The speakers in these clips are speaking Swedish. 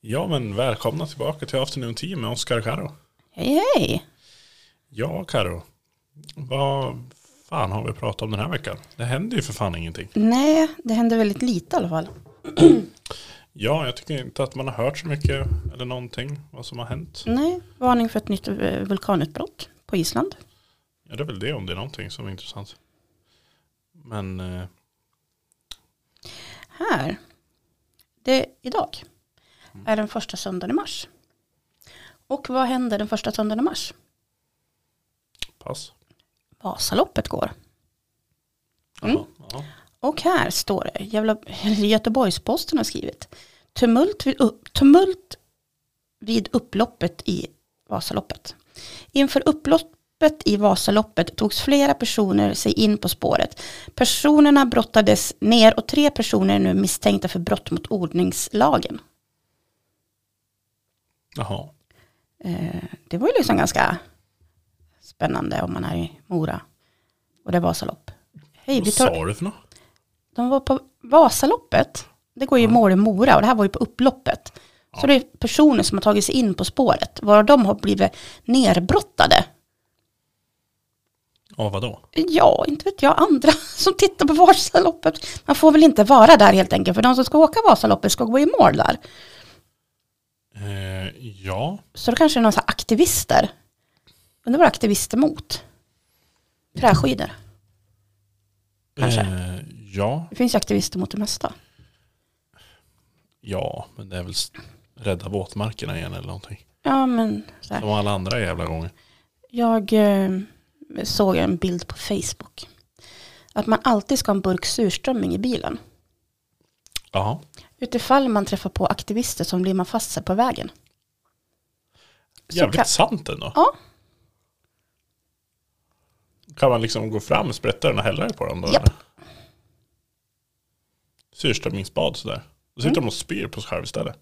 Ja men välkomna tillbaka till Afternoon Tea med Oskar och Karo. Hej hej! Ja Karo, vad fan har vi pratat om den här veckan? Det händer ju för fan ingenting. Nej, det händer väldigt lite i alla fall. Ja, jag tycker inte att man har hört så mycket eller någonting vad som har hänt. Nej, varning för ett nytt eh, vulkanutbrott på Island. Ja, det är väl det om det är någonting som är intressant. Men eh, Här, det idag är den första söndagen i mars. Och vad händer den första söndagen i mars? pass. Vasaloppet går. Mm. Jaha, ja. Och här står det, jävla, Göteborgs-Posten har skrivit, tumult vid, upp, tumult vid upploppet i Vasaloppet. Inför upploppet i Vasaloppet togs flera personer sig in på spåret. Personerna brottades ner och tre personer är nu misstänkta för brott mot ordningslagen. Jaha. Eh, det var ju liksom ganska spännande om man är i Mora. Och det är Vasalopp. Hej, vi Vad tar, sa du för något? De var på Vasaloppet. Det går ju i mål i Mora och det här var ju på upploppet. Så det är personer som har tagit sig in på spåret. Varav de har blivit nerbrottade. Ja, vadå? Ja, inte vet jag. Andra som tittar på Vasaloppet. Man får väl inte vara där helt enkelt. För de som ska åka Vasaloppet ska gå i mål där. Eh, ja, Så då kanske det är några så här aktivister. Undrar vad aktivister mot? Träskidor. Kanske. eh, ja, Det finns ju aktivister mot det mesta. ja, men det är väl s- rädda våtmarkerna igen eller någonting. Ja, men så här. Som alla andra jävla gånger. Jag eh, såg en bild på Facebook. Att man alltid ska ha en burk surströmming i bilen. Jaha. Utifall man träffar på aktivister som limmar fast sig på vägen. Så Jävligt kan- sant ändå. Ja. Kan man liksom gå fram, sprätta den och hälla det på dem då? Japp. eller? Surströmmingsbad sådär. Då sitter Mm. de och spyr på sig själv istället.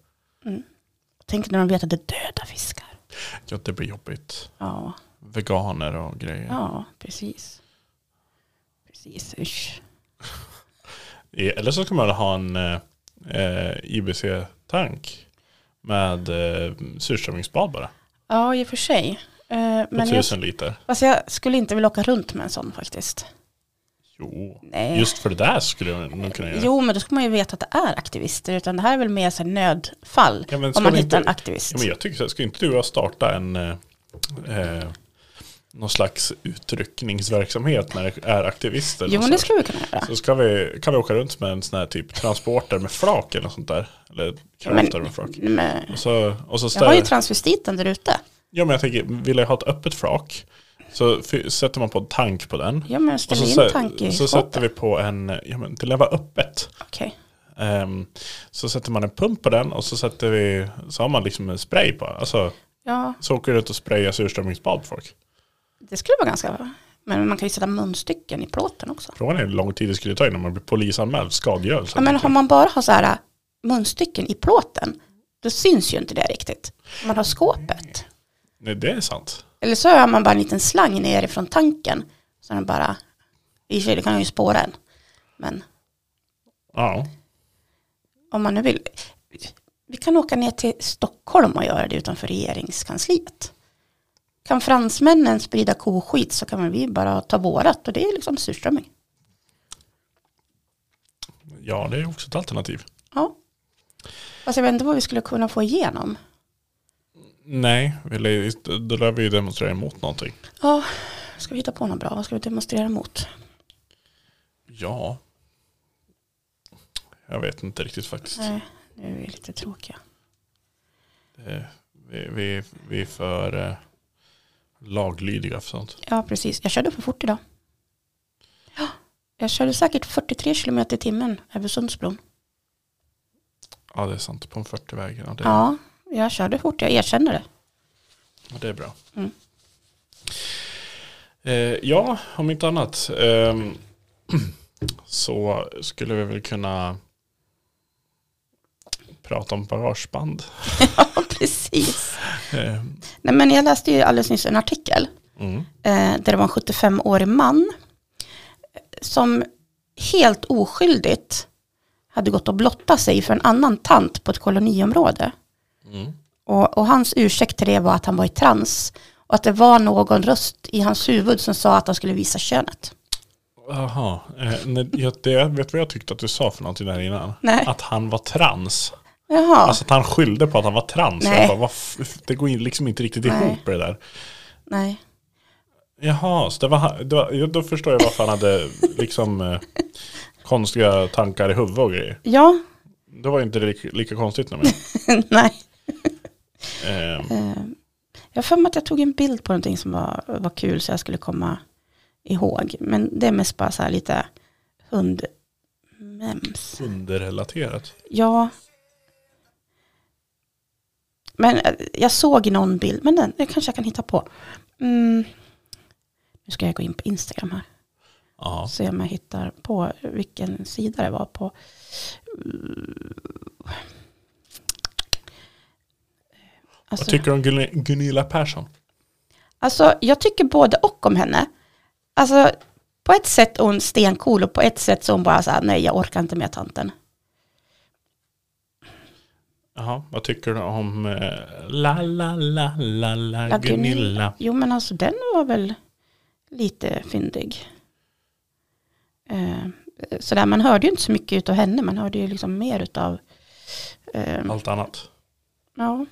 Tänk när de vet att det är döda fiskar. Ja, det blir jobbigt. Ja, Veganer och grejer. ja precis. Precis, usch. Eh, Eller så ska man ha en eh, eh, IBC-tank med eh, surströmmingsbad bara. Ja, i och för sig. Eh, På men jag, tusen liter. alltså jag skulle inte vilja åka runt med en sån faktiskt. Jo, Nej. just för det där skulle jag nog kunna göra. Jo, men då ska man ju veta att det är aktivister. Utan det här är väl mer så här nödfall. Ja, men ska om man vi inte- hittar en aktivist. Ja, men jag tycker så här, ska inte du och jag starta en eh, eh, någon slags utryckningsverksamhet när det är aktivister? jo, men det någonstans? skulle vi kunna göra. Så ska vi, kan vi åka runt med en sån här typ transporter med flak eller något sånt där. Eller Ja, men- krafter med flak. Men, Och så, och så Jag har ju ställer, transvestiten där ute. ja, men jag tänker, vill jag ha ett öppet flak så fy- sätter man på en tank på den. Ja, men jag Och så, ställer in tanke sä- i så skåpet. sätter vi på en, ja men det lär vara öppet. Okej. Ehm, så sätter man en pump på den och så sätter vi, så har man liksom en spray på. Alltså, Ja, så åker du ut och sprayar surströmmingsbad på folk. det skulle vara ganska... Men man kan ju sätta munstycken i plåten också. Frågan är hur lång tid det skulle ta innan man blir polisanmäld för skadegörelse. Ja, men om man bara har så här äh, munstycken i plåten, då syns ju inte det riktigt. Om Man har skåpet. Nej, det är sant. Eller så har man bara en liten slang ner ifrån tanken. Så den bara... I och för sig, det kan ju spåra en. Men Ja. om man nu vill... Vi kan åka ner till Stockholm och göra det utanför regeringskansliet. Kan fransmännen sprida koskit så kan väl vi bara ta vårat och det är liksom surströmming. ja, det är också ett alternativ. Ja. Fast jag vet inte vad vi skulle kunna få igenom. Nej, vi lär- då lär vi ju demonstrera emot någonting. Ja, ska vi hitta på något bra? Vad ska vi demonstrera mot? Ja. Jag vet inte riktigt faktiskt. Nej, nu är vi lite tråkiga. Eh, Vi, vi, vi är för eh, laglydiga för sånt. Ja, precis. Jag körde för fort idag. Ja, jag körde säkert 43 kilometer i timmen över Sundsbron. Ja, det är sant. På en 40-väg. Ja, det, Ja, jag körde fort. Jag erkänner det. ja, det är bra. Mm. Eh, ja, om inte annat ehm, så skulle vi väl kunna prata om garageband. Ja, precis. Eh, Nej, men jag läste ju alldeles nyss en artikel mm. eh, där det var en 75-årig man som helt oskyldigt hade gått och blottat sig för en annan tant på ett koloniområde. Mm. Och, och hans ursäkt till det var att han var i trans. Och att det var någon röst i hans huvud som sa att han skulle visa könet. Jaha, eh, nej, jag, det, vet du vad jag tyckte att du sa för någonting där innan? Nej. Att han var trans. Jaha, Alltså att han skyllde på att han var trans. Nej. Jag bara, vad f- det går in- liksom inte riktigt Nej. ihop det där. nej. Jaha, så det var, han- det var, ja, då förstår jag varför han hade liksom eh, konstiga tankar i huvudet och grejer. Ja, Det var ju inte lika, lika konstigt nämligen. nej. Eh, Eh, Jag har för mig att jag tog en bild på någonting som var, var kul så jag skulle komma ihåg. Men det är mest bara så här lite hundmems. underrelaterat. Ja. Men eh, jag såg någon bild, men den den kanske jag kan hitta på. Mm. Nu ska jag gå in på Instagram här. Ja. Se om jag hittar på vilken sida det var på. Vad Alltså, tycker du om Gun- Gunilla Persson? alltså jag tycker både och om henne. Alltså på ett sätt är hon stencool och på ett sätt så är hon bara så här, nej jag orkar inte med tanten. Jaha, vad tycker du om eh, la la la la la Ja, Gunilla? Jo men alltså den var väl lite fyndig. Eh, sådär, man hörde ju inte så mycket av henne, man hörde ju liksom mer utav, eh, Allt annat. ja.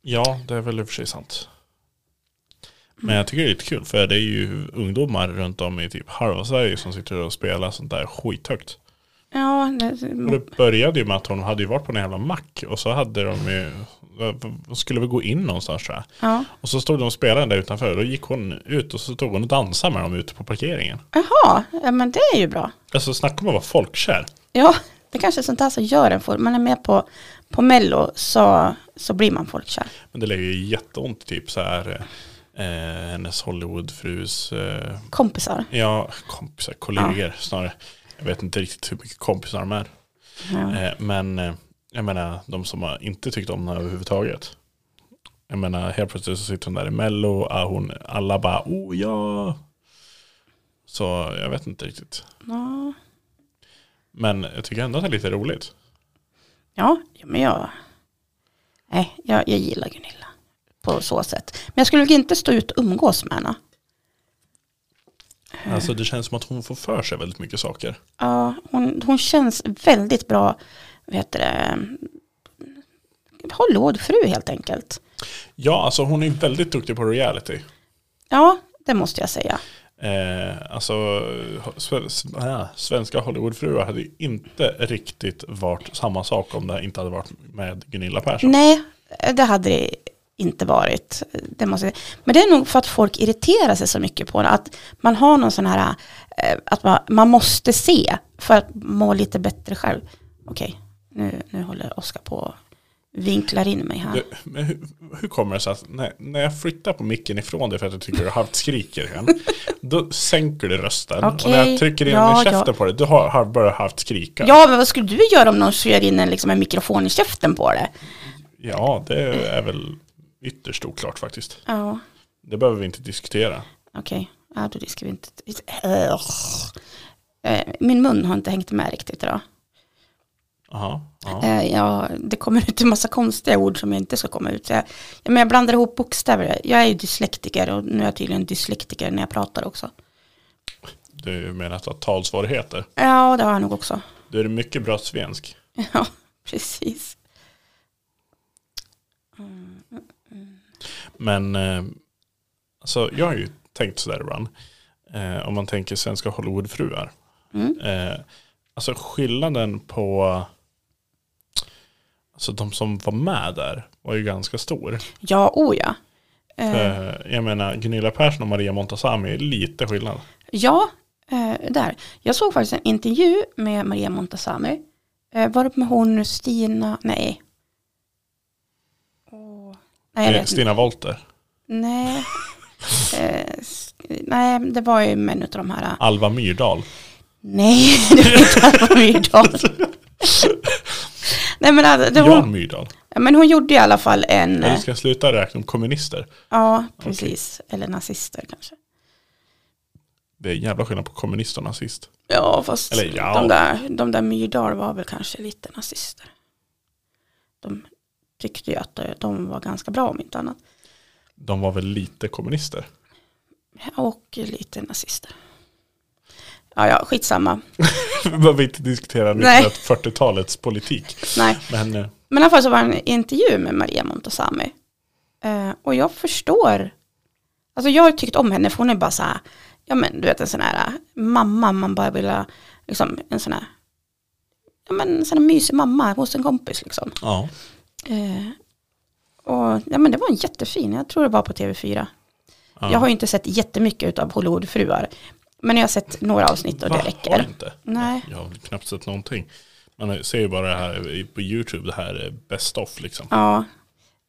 Ja, det är väl i och för sig sant. Men jag tycker det är lite kul för det är ju ungdomar runt om i typ halva Sverige som sitter och spelar sånt där skithögt. Ja, det, Och det började ju med att hon hade ju varit på en jävla mack och så hade de ju, de skulle väl gå in någonstans tror jag. ja. Och så stod de och spelade där utanför och då gick hon ut och så stod hon och dansade med dem ute på parkeringen. Jaha, ja, men det är ju bra. Alltså snacka om att vara folkkär. Ja, det kanske är sånt där som gör en folk. Man är med på, på Mello så, så blir man folkkär. Men det lägger ju jätteont typ så här eh, hennes Hollywoodfrus eh, Kompisar. Ja, kompisar, kollegor snarare. Jag vet inte riktigt hur mycket kompisar de är. Ja. Eh, Men eh, jag menar de som har inte tyckt om henne överhuvudtaget. Jag menar helt plötsligt så sitter hon där i mello och hon, alla bara oh ja. Så jag vet inte riktigt. Ja. Men jag tycker ändå att det är lite roligt. Ja, ja, men jag... Nej, jag, jag gillar Gunilla på så sätt. Men jag skulle väl inte stå ut och umgås med henne. Eh. Alltså det känns som att hon får för sig väldigt mycket saker. Ja, hon, hon känns väldigt bra, vad heter det, håll låd fru helt enkelt. Ja, alltså hon är väldigt duktig på reality. Ja, det måste jag säga. Eh, alltså, sve- s- äh, svenska Hollywoodfruar hade ju inte riktigt varit samma sak om det inte hade varit med Gunilla Persson. Nej, det hade det inte varit. Det måste, jag- men det är nog för att folk irriterar sig så mycket på det. Att man har någon sån här, eh, att man, man måste se för att må lite bättre själv. Okej, nu, nu håller Oskar på och vinklar in mig här. Du, men hur, hur kommer det sig att när, när jag flyttar på micken ifrån dig för att jag tycker du halvt skriker igen, då sänker du rösten. Och när Okej, jag trycker in ja, i käften ja. på dig, då har, har börjar halvt skrika. Ja, men vad skulle du göra om någon kör in en, liksom, en mikrofon i käften på det? Ja, det är väl ytterst oklart faktiskt. Ja, Det behöver vi inte diskutera. okej. Ja, då ska vi inte... Eh, Min mun har inte hängt med riktigt idag. Aha, ja. Eh, Ja, det kommer ut en massa konstiga ord som jag inte ska komma ut. Så jag, ja, men jag blandar ihop bokstäver. Jag är ju dyslektiker och nu är jag tydligen dyslektiker när jag pratar också. Du menar att du har talsvårigheter? Ja, det har jag nog också. Då är det mycket bra svensk. Ja, precis. Men eh, alltså, jag har ju tänkt sådär ibland. Eh, om man tänker svenska Hollywoodfruar. Mm. Eh, alltså skillnaden på alltså, de som var med där var ju ganska stor. Ja, o ja. Eh, Eh, jag menar Gunilla Persson och Maria Montazami är lite skillnad. ja, eh, där. Jag såg faktiskt en intervju med Maria Montazami. Eh, var det med hon Stina? Nej. Åh, nej, jag Eh, vet inte. Stina Wolter, Nej. Eh, s- nej, det var ju med en av de här... eh, Alva Myrdal. Nej, det var inte Alva Myrdal. Nej men, alltså, det Jan hon, Myrdal. men hon gjorde i alla fall en, Eller ska jag sluta räkna om kommunister? ja precis, eller nazister kanske. Det är en jävla skillnad på kommunist och nazist. Ja fast Eller ja. De, där, de där Myrdal var väl kanske lite nazister. De tyckte ju att eh, de var ganska bra om inte annat. De var väl lite kommunister? Och lite nazister. Ja, ja, skitsamma. Vi behöver inte diskutera Nej. 1940-talets politik. Nej. Men eh, Men i alla fall så var det en intervju med Maria Montazami. Eh, och jag förstår. Alltså jag har tyckt om henne för hon är bara så här. Ja men du vet en sån här eh, mamma man bara vill ha. Liksom en sån här. Ja men en sån här mysig mamma hos en kompis liksom. ja. Eh, och ja men det var en jättefin. Jag tror det var på TV4. ja. Jag har ju inte sett jättemycket av Hollywoodfruar. Men jag har sett några avsnitt och det Va? Har du räcker. inte? Nej. Jag har knappt sett någonting. Man eh, ser ju bara det här i- på YouTube, det här eh, best of liksom. Ja,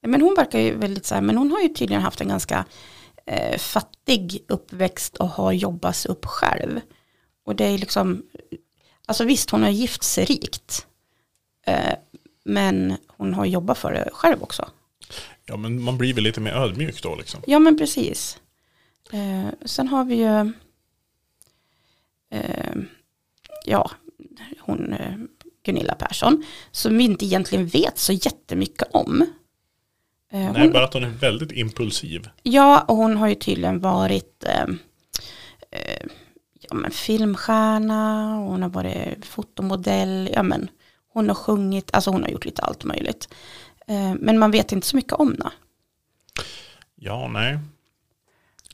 men hon verkar ju väldigt så här, men hon har ju tydligen haft en ganska eh, fattig uppväxt och har jobbat sig upp själv. Och det är liksom, alltså visst hon har gift sig rikt, eh, men hon har jobbat för det själv också. Ja, men man blir väl lite mer ödmjuk då liksom. Ja men precis. Eh, sen har vi ju, eh, ja, hon eh, Gunilla Persson, som vi inte egentligen vet så jättemycket om. Eh, Nej, bara att hon är väldigt impulsiv. Ja, och hon har ju tydligen varit eh, eh, ja, men filmstjärna, och hon har varit fotomodell, ja men hon har sjungit, alltså hon har gjort lite allt möjligt. Eh, men man vet inte så mycket om henne. Ja, nej.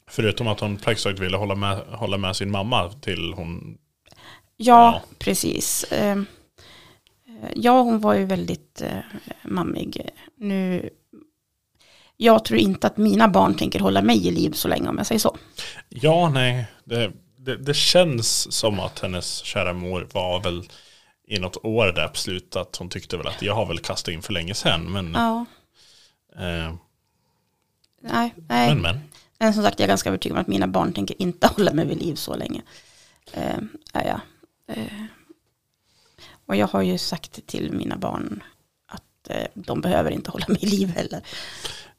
Förutom att hon praktiskt taget ville hålla med, hålla med sin mamma till hon... Ja, Ja. precis. Eh, eh, ja, hon var ju väldigt eh, mammig. Nu, jag tror inte att mina barn tänker hålla mig i liv så länge om jag säger så. Ja, nej. Det, det, det känns som att hennes kära mor var väl i något år där på slutet att hon tyckte väl att jag har väl kastat in för länge sedan. Men, Ja, eh, nej, nej. men, men. Men Eh, som sagt, jag är ganska övertygad om att mina barn tänker inte hålla mig vid liv så länge. Eh, är jag. Eh, och jag har ju sagt till mina barn att eh, de behöver inte hålla mig i liv heller.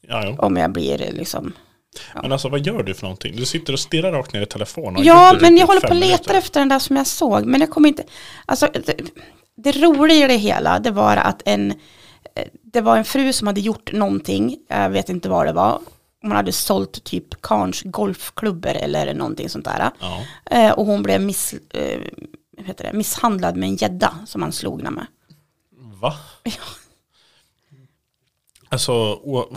Ja, jo. Om jag blir eh, liksom... Men alltså vad gör du för någonting? Du sitter och stirrar rakt ner i telefonen. och har gjort Ja, det men typ jag i håller på och fem letar minuter. efter den där som jag såg. Men jag kommer inte... Alltså, det, det roliga i det hela, det var att en... eh, Det var en fru som hade gjort någonting, jag vet inte vad det var. Hon hade sålt typ Karns golfklubbor eller någonting sånt där. Ja. Eh, och hon blev miss, eh, vad heter det, misshandlad med en gädda som han slog henne med. Va? Alltså, o-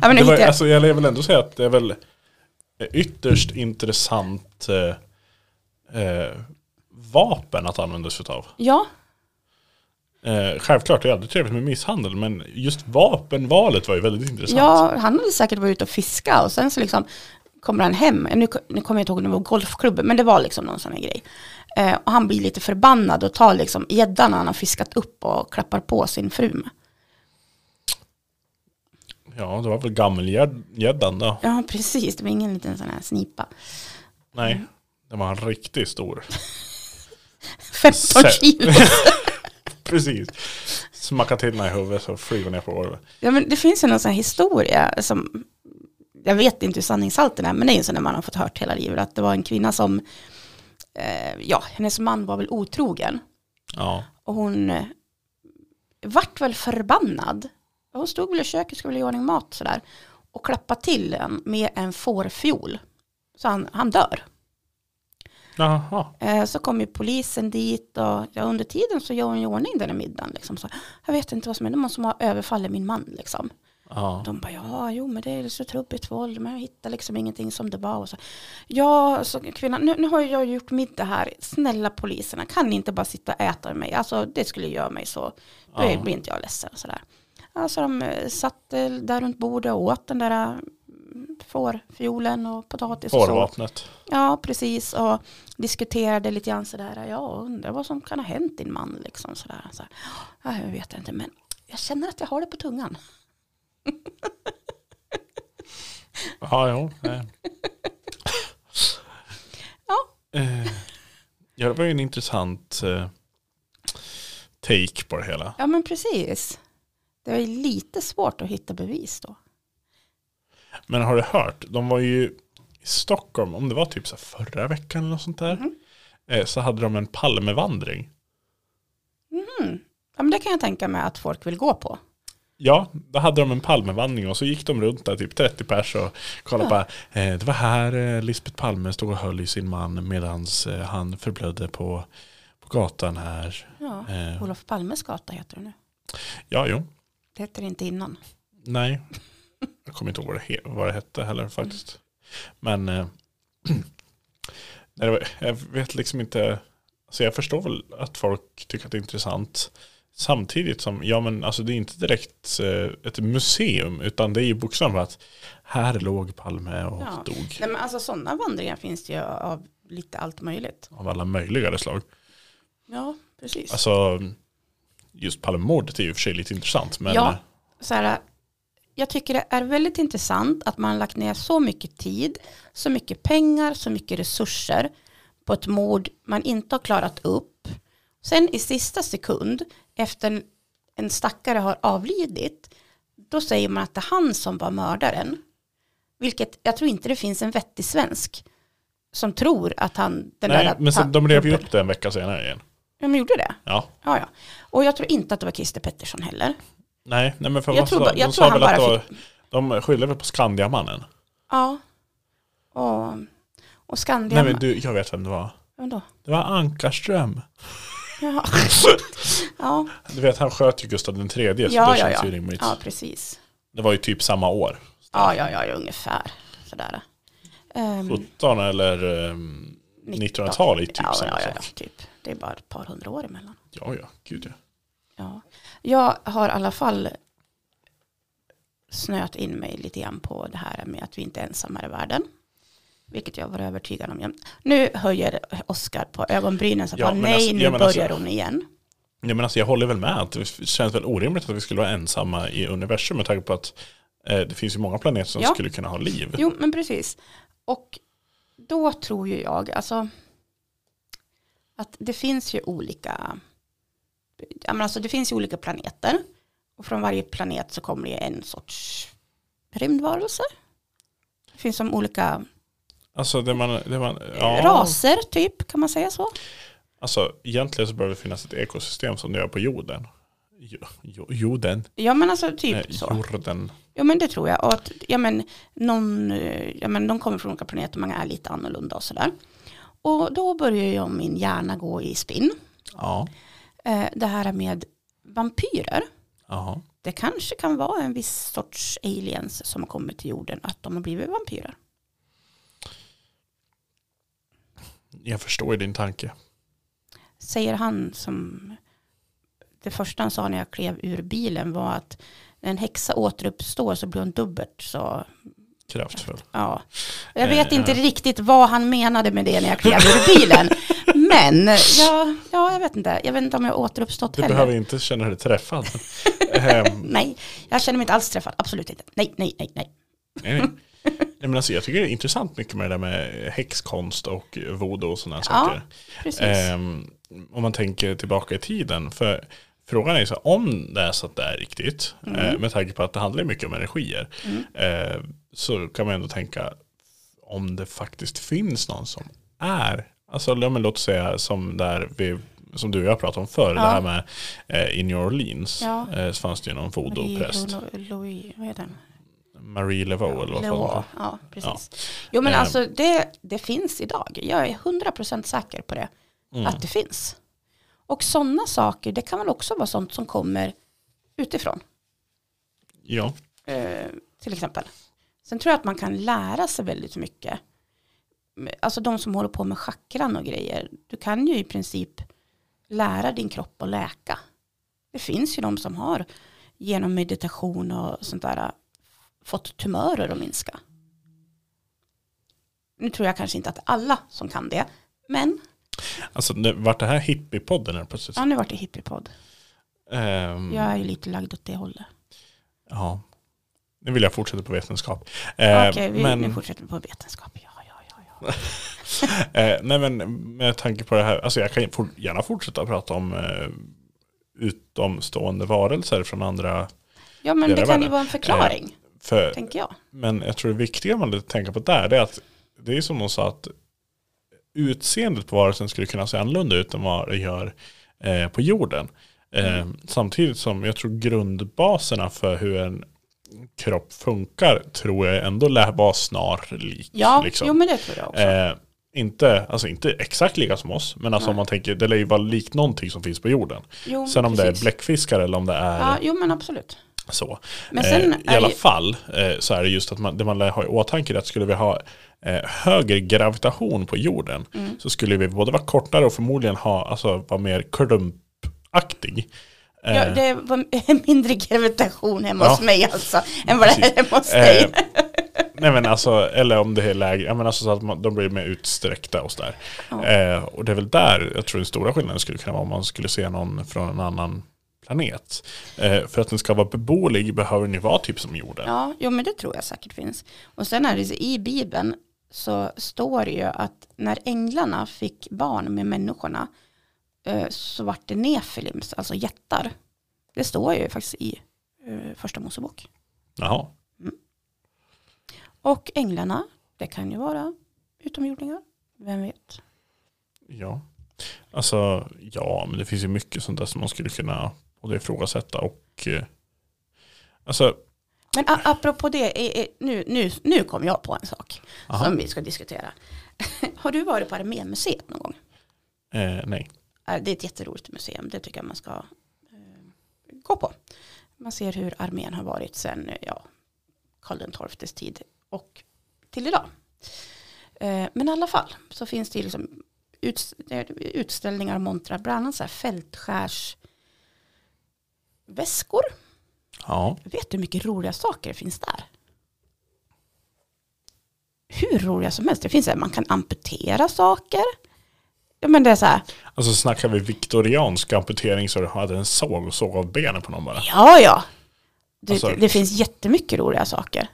Ja, men nu det var, hittar jag, alltså, jag vill ändå säga att det är väl eh, ytterst intressant eh, eh, vapen att använda sig av. ja, Eh, självklart, det är aldrig trevligt med misshandel, men just vapenvalet var ju väldigt intressant. ja, han hade säkert varit ute och fiska och sen så liksom kommer han hem, nu, nu kommer jag inte ihåg om det var golfklubben, men det var liksom någon sån här grej. Eh, och han blir lite förbannad och tar liksom gäddan han har fiskat upp och klappar på sin fru med. Ja, det var väl gammelgäddan då. Ja, precis, det var ingen liten sån här snipa. Nej, det var en riktigt stor. 15 Sä- kilo. Precis. Smacka till den här i huvudet så flyger ner på golvet. Ja, men det finns ju någon sån här historia som, jag vet inte hur sanningshalten är, men det är ju en sån där man har fått hört hela livet, att det var en kvinna som, eh, ja, hennes man var väl otrogen, Ja. och hon eh, vart väl förbannad. Hon stod väl i köket och skulle göra i ordning mat sådär, och klappade till en med en fårfiol. Så han, han dör. Jaha. Eh, Så kom ju polisen dit och ja, under tiden så gör hon i ordning den här middagen. Liksom. Så, jag vet inte vad som är, det är någon som har överfallit min man liksom. Ja. De bara, ja, jo, men det är så trubbigt våld, men jag hittar liksom ingenting som det var. Och så. Ja, så kvinnan, nu, nu har jag gjort middag här, snälla poliserna, kan ni inte bara sitta och äta med mig? Alltså det skulle göra mig så, då Ja. blir inte jag ledsen. och Sådär. Alltså de eh, satt eh, där runt bordet och åt den där mm, fårfiolen och potatis och så. Fårvapnet. Ja, precis. Och diskuterade lite grann sådär. Ja, undrar vad som kan ha hänt din man. Liksom, sådär. Så, ja, jag vet inte, men jag känner att jag har det på tungan. Ja, jo. nej. Eh, ja, det var ju en intressant eh, take på det hela. Ja men precis. Det är lite svårt att hitta bevis då. Men har du hört? De var ju i Stockholm, om det var typ så här förra veckan eller något sånt där. Mhm. Eh, så hade de en Palmevandring. Mm. Ja men det kan jag tänka mig att folk vill gå på. Ja, då hade de en Palmevandring och så gick de runt där, typ 30 pers och kollade Ja. på. Eh, det var här eh, Lisbeth Palme stod och höll i sin man medan eh, han förblödde på, på gatan här. Ja. Eh, Olof Palmes gata heter det nu. ja, jo. Det hette det inte innan. Nej. Jag kommer inte ihåg vad det, he- vad det hette heller faktiskt. Men eh, nej, det var- jag vet liksom inte. Alltså jag förstår väl att folk tycker att det är intressant. Samtidigt som, ja men alltså det är inte direkt eh, ett museum utan det är ju bokstavligen att här låg Palme och Ja. dog. Nej, men alltså sådana vandringar finns det ju av lite allt möjligt. Av alla möjliga slag. Ja, precis. Alltså just Palmemordet är ju i och för sig lite intressant. Men eh, Ja. så här, jag tycker det är väldigt intressant att man har lagt ner så mycket tid, så mycket pengar, så mycket resurser på ett mord man inte har klarat upp. Sen i sista sekund, efter en, en stackare har avlidit, då säger man att det är han som var mördaren. Vilket jag tror inte det finns en vettig svensk som tror att han... Den nej, där, men sen, de rev rev ju upp det en vecka senare igen. Ja, men gjorde det? Ja. Ja, ja. Och jag tror inte att det var Christer Pettersson heller. Nej, nej men för Jag vad tror sa, ba- jag de tror sa han väl att bara det var, de skyllde väl på Skandiamannen. Ja. Och, och Skandia. Nej men du, jag vet vem det var. Vem då? Det var Ankarström. Jaha. ja. Du vet han sköt ju Gustav den tredje så Ja, det ja, känns ja. ju rimligt. ja, precis. Det var ju typ samma år. Ja, ja, ja, ungefär. Sådär. Ehm, 17 eller ehm, 19. 1900-talet är typ ja, samma ja, ja, ja, sak. typ. Det är bara ett par hundra år emellan. Ja, ja, gud ja. Ja. Jag har i alla fall snöat in mig lite grann på det här med att vi inte är ensamma i världen. Vilket jag var övertygad om. jämt. Nu höjer Oskar på ögonbrynen så Ja, bara men nej, alltså- nu ja, men börjar alltså- hon igen. Ja men alltså jag håller väl med att det känns väl orimligt att vi skulle vara ensamma i universum med tanke på att eh, det finns ju många planeter som Ja. skulle kunna ha liv. Jo, men precis. Och då tror ju jag, alltså, att det finns ju olika, ja, men alltså det finns ju olika planeter. Och från varje planet så kommer det ju en sorts rymdvarelse. Det finns som olika Alltså det man, det man ja, raser typ, kan man säga så? alltså egentligen så bör det finnas ett ekosystem som det gör på jorden. Jo, jo, jorden. Ja men alltså typ Eh, så. Jorden. Ja men det tror jag. Och att, ja, men, någon, eh, ja men de kommer från olika planeter, många är lite annorlunda och sådär. Och då börjar jag min hjärna gå i spinn. Ja. Eh, det här med vampyrer. Jaha. Det kanske kan vara en viss sorts aliens som har kommit till jorden att de har blivit vampyrer. Jag förstår ju din tanke. Säger han som det första han sa när jag klev ur bilen var att när en häxa återuppstår så blir hon dubbelt så Kraftfull. ja. Jag Eh, vet inte ja. riktigt vad han menade med det när jag klev ur bilen. Men ja, ja, jag vet inte. Jag vet inte om jag har återuppstått Du heller. behöver inte känna dig träffad. Ehm, Nej, jag känner mig inte alls träffad. Absolut inte. Nej, nej, nej, nej. nej, nej. Nej, men alltså, jag tycker det är intressant mycket med det där med häxkonst och voodoo och sådana saker. Precis. Ehm, om man tänker tillbaka i tiden. För frågan är ju så här, om det är så att det är riktigt, Mm. eh, med tanke på att det handlar ju mycket om energier, eh, så kan man ändå tänka om det faktiskt finns någon som är, alltså ja, men låt oss säga som, där vi, som du och jag pratade om förr, det här med eh, i New Orleans, Ja. eh, så fanns det ju någon voodoo-präst, Marie Lo- Louis, vad heter den? Marie Laveau eller vad fan Leau, var ja precis. Jo men Eh. alltså det, det finns idag. Jag är 100% säker på det. Att det finns. Och sådana saker, det kan väl också vara sånt som kommer utifrån. Ja, Eh, till exempel. Sen tror jag att man kan lära sig väldigt mycket. Alltså de som håller på med chakran och grejer. Du kan ju i princip lära din kropp att läka. Det finns ju de som har genom meditation och sånt där eh, fått tumörer att minska. Nu tror jag kanske inte att alla som kan det. Men, alltså det, vart det här hippiepodden är plötsligt. ja nu vart det hippiepodd. Ehm, Jag är ju lite lagd åt det hållet. ja. Nu vill jag fortsätta på vetenskap. Okej, Ehm, vi, men- nu fortsätter vi på vetenskap. Ja, ja, ja, ja. Eh, nej men med tanke på det här, alltså jag kan for, gärna fortsätta prata om eh, utomstående varelser från andra. ja men Det är det det kan ju värre. vara en förklaring. För, tänker jag. men jag tror det viktiga man tänker på där, det är att det är som de sa att utseendet på varelsen skulle kunna se annorlunda ut än vad det gör eh, på jorden. Eh, Mm. samtidigt som jag tror grundbaserna för hur en kropp funkar tror jag ändå lär vara snarlik. Ja, liksom. jo men det tror jag också. Eh, inte, alltså inte exakt lika som oss, men alltså om man tänker, det lär ju vara likt någonting som finns på jorden. jo, Sen om det precis. är bläckfiskar eller om det är Ja, jo men absolut. så. Men sen eh, I är alla ju- fall eh, så är det just att man, det man lär ha i åtanke är att skulle vi ha eh, högre gravitation på jorden Mm. så skulle vi både vara kortare och förmodligen ha, alltså, vara mer klumpaktig. Eh, Ja, det var mindre gravitation hemma Ja. hos mig alltså, än vad det Precis. är hemma hos dig. Eh, nej men alltså, eller om det är lägre, ja, men alltså så att man, de blir mer utsträckta och sådär. Eh, och det är väl där jag tror den stora skillnaden skulle kunna vara om man skulle se någon från en annan planet. Eh, för att den ska vara beboelig behöver den ju vara typ som jorden. Ja, jo men det tror jag säkert finns. Och sen är det så, i Bibeln så står det ju att när änglarna fick barn med människorna eh, så vart det nefilims, alltså jättar. Det står ju faktiskt i eh, första Mosebok. Jaha. Och änglarna, det kan ju vara utomjordingar, vem vet. Ja. Alltså, ja, men det finns ju mycket sånt där som man skulle kunna både ifrågasätta och... eh, Alltså, Men a- apropå det, eh, eh, nu, nu, nu kom jag på en sak Aha. som vi ska diskutera. Har du varit på Armémuseet någon gång? eh, nej. Eh, Det är ett jätteroligt museum. Det tycker jag man ska eh, gå på. Man ser hur armén har varit sedan eh, ja, Karl XIIs tid och till idag. Eh, men i alla fall så finns det ju liksom uts- eh, utställningar och montrar, bland annat så här fältskärsväskor. Ja. Vet du hur mycket roliga saker det finns där? Hur roliga som helst. Det finns så här, man kan amputera saker. Ja, men det är så här, Alltså snackar vi viktoriansk amputering så du hade en såg och såg av benen på någon bara. Ja, ja. Det, Alltså- det, det finns jättemycket roliga saker.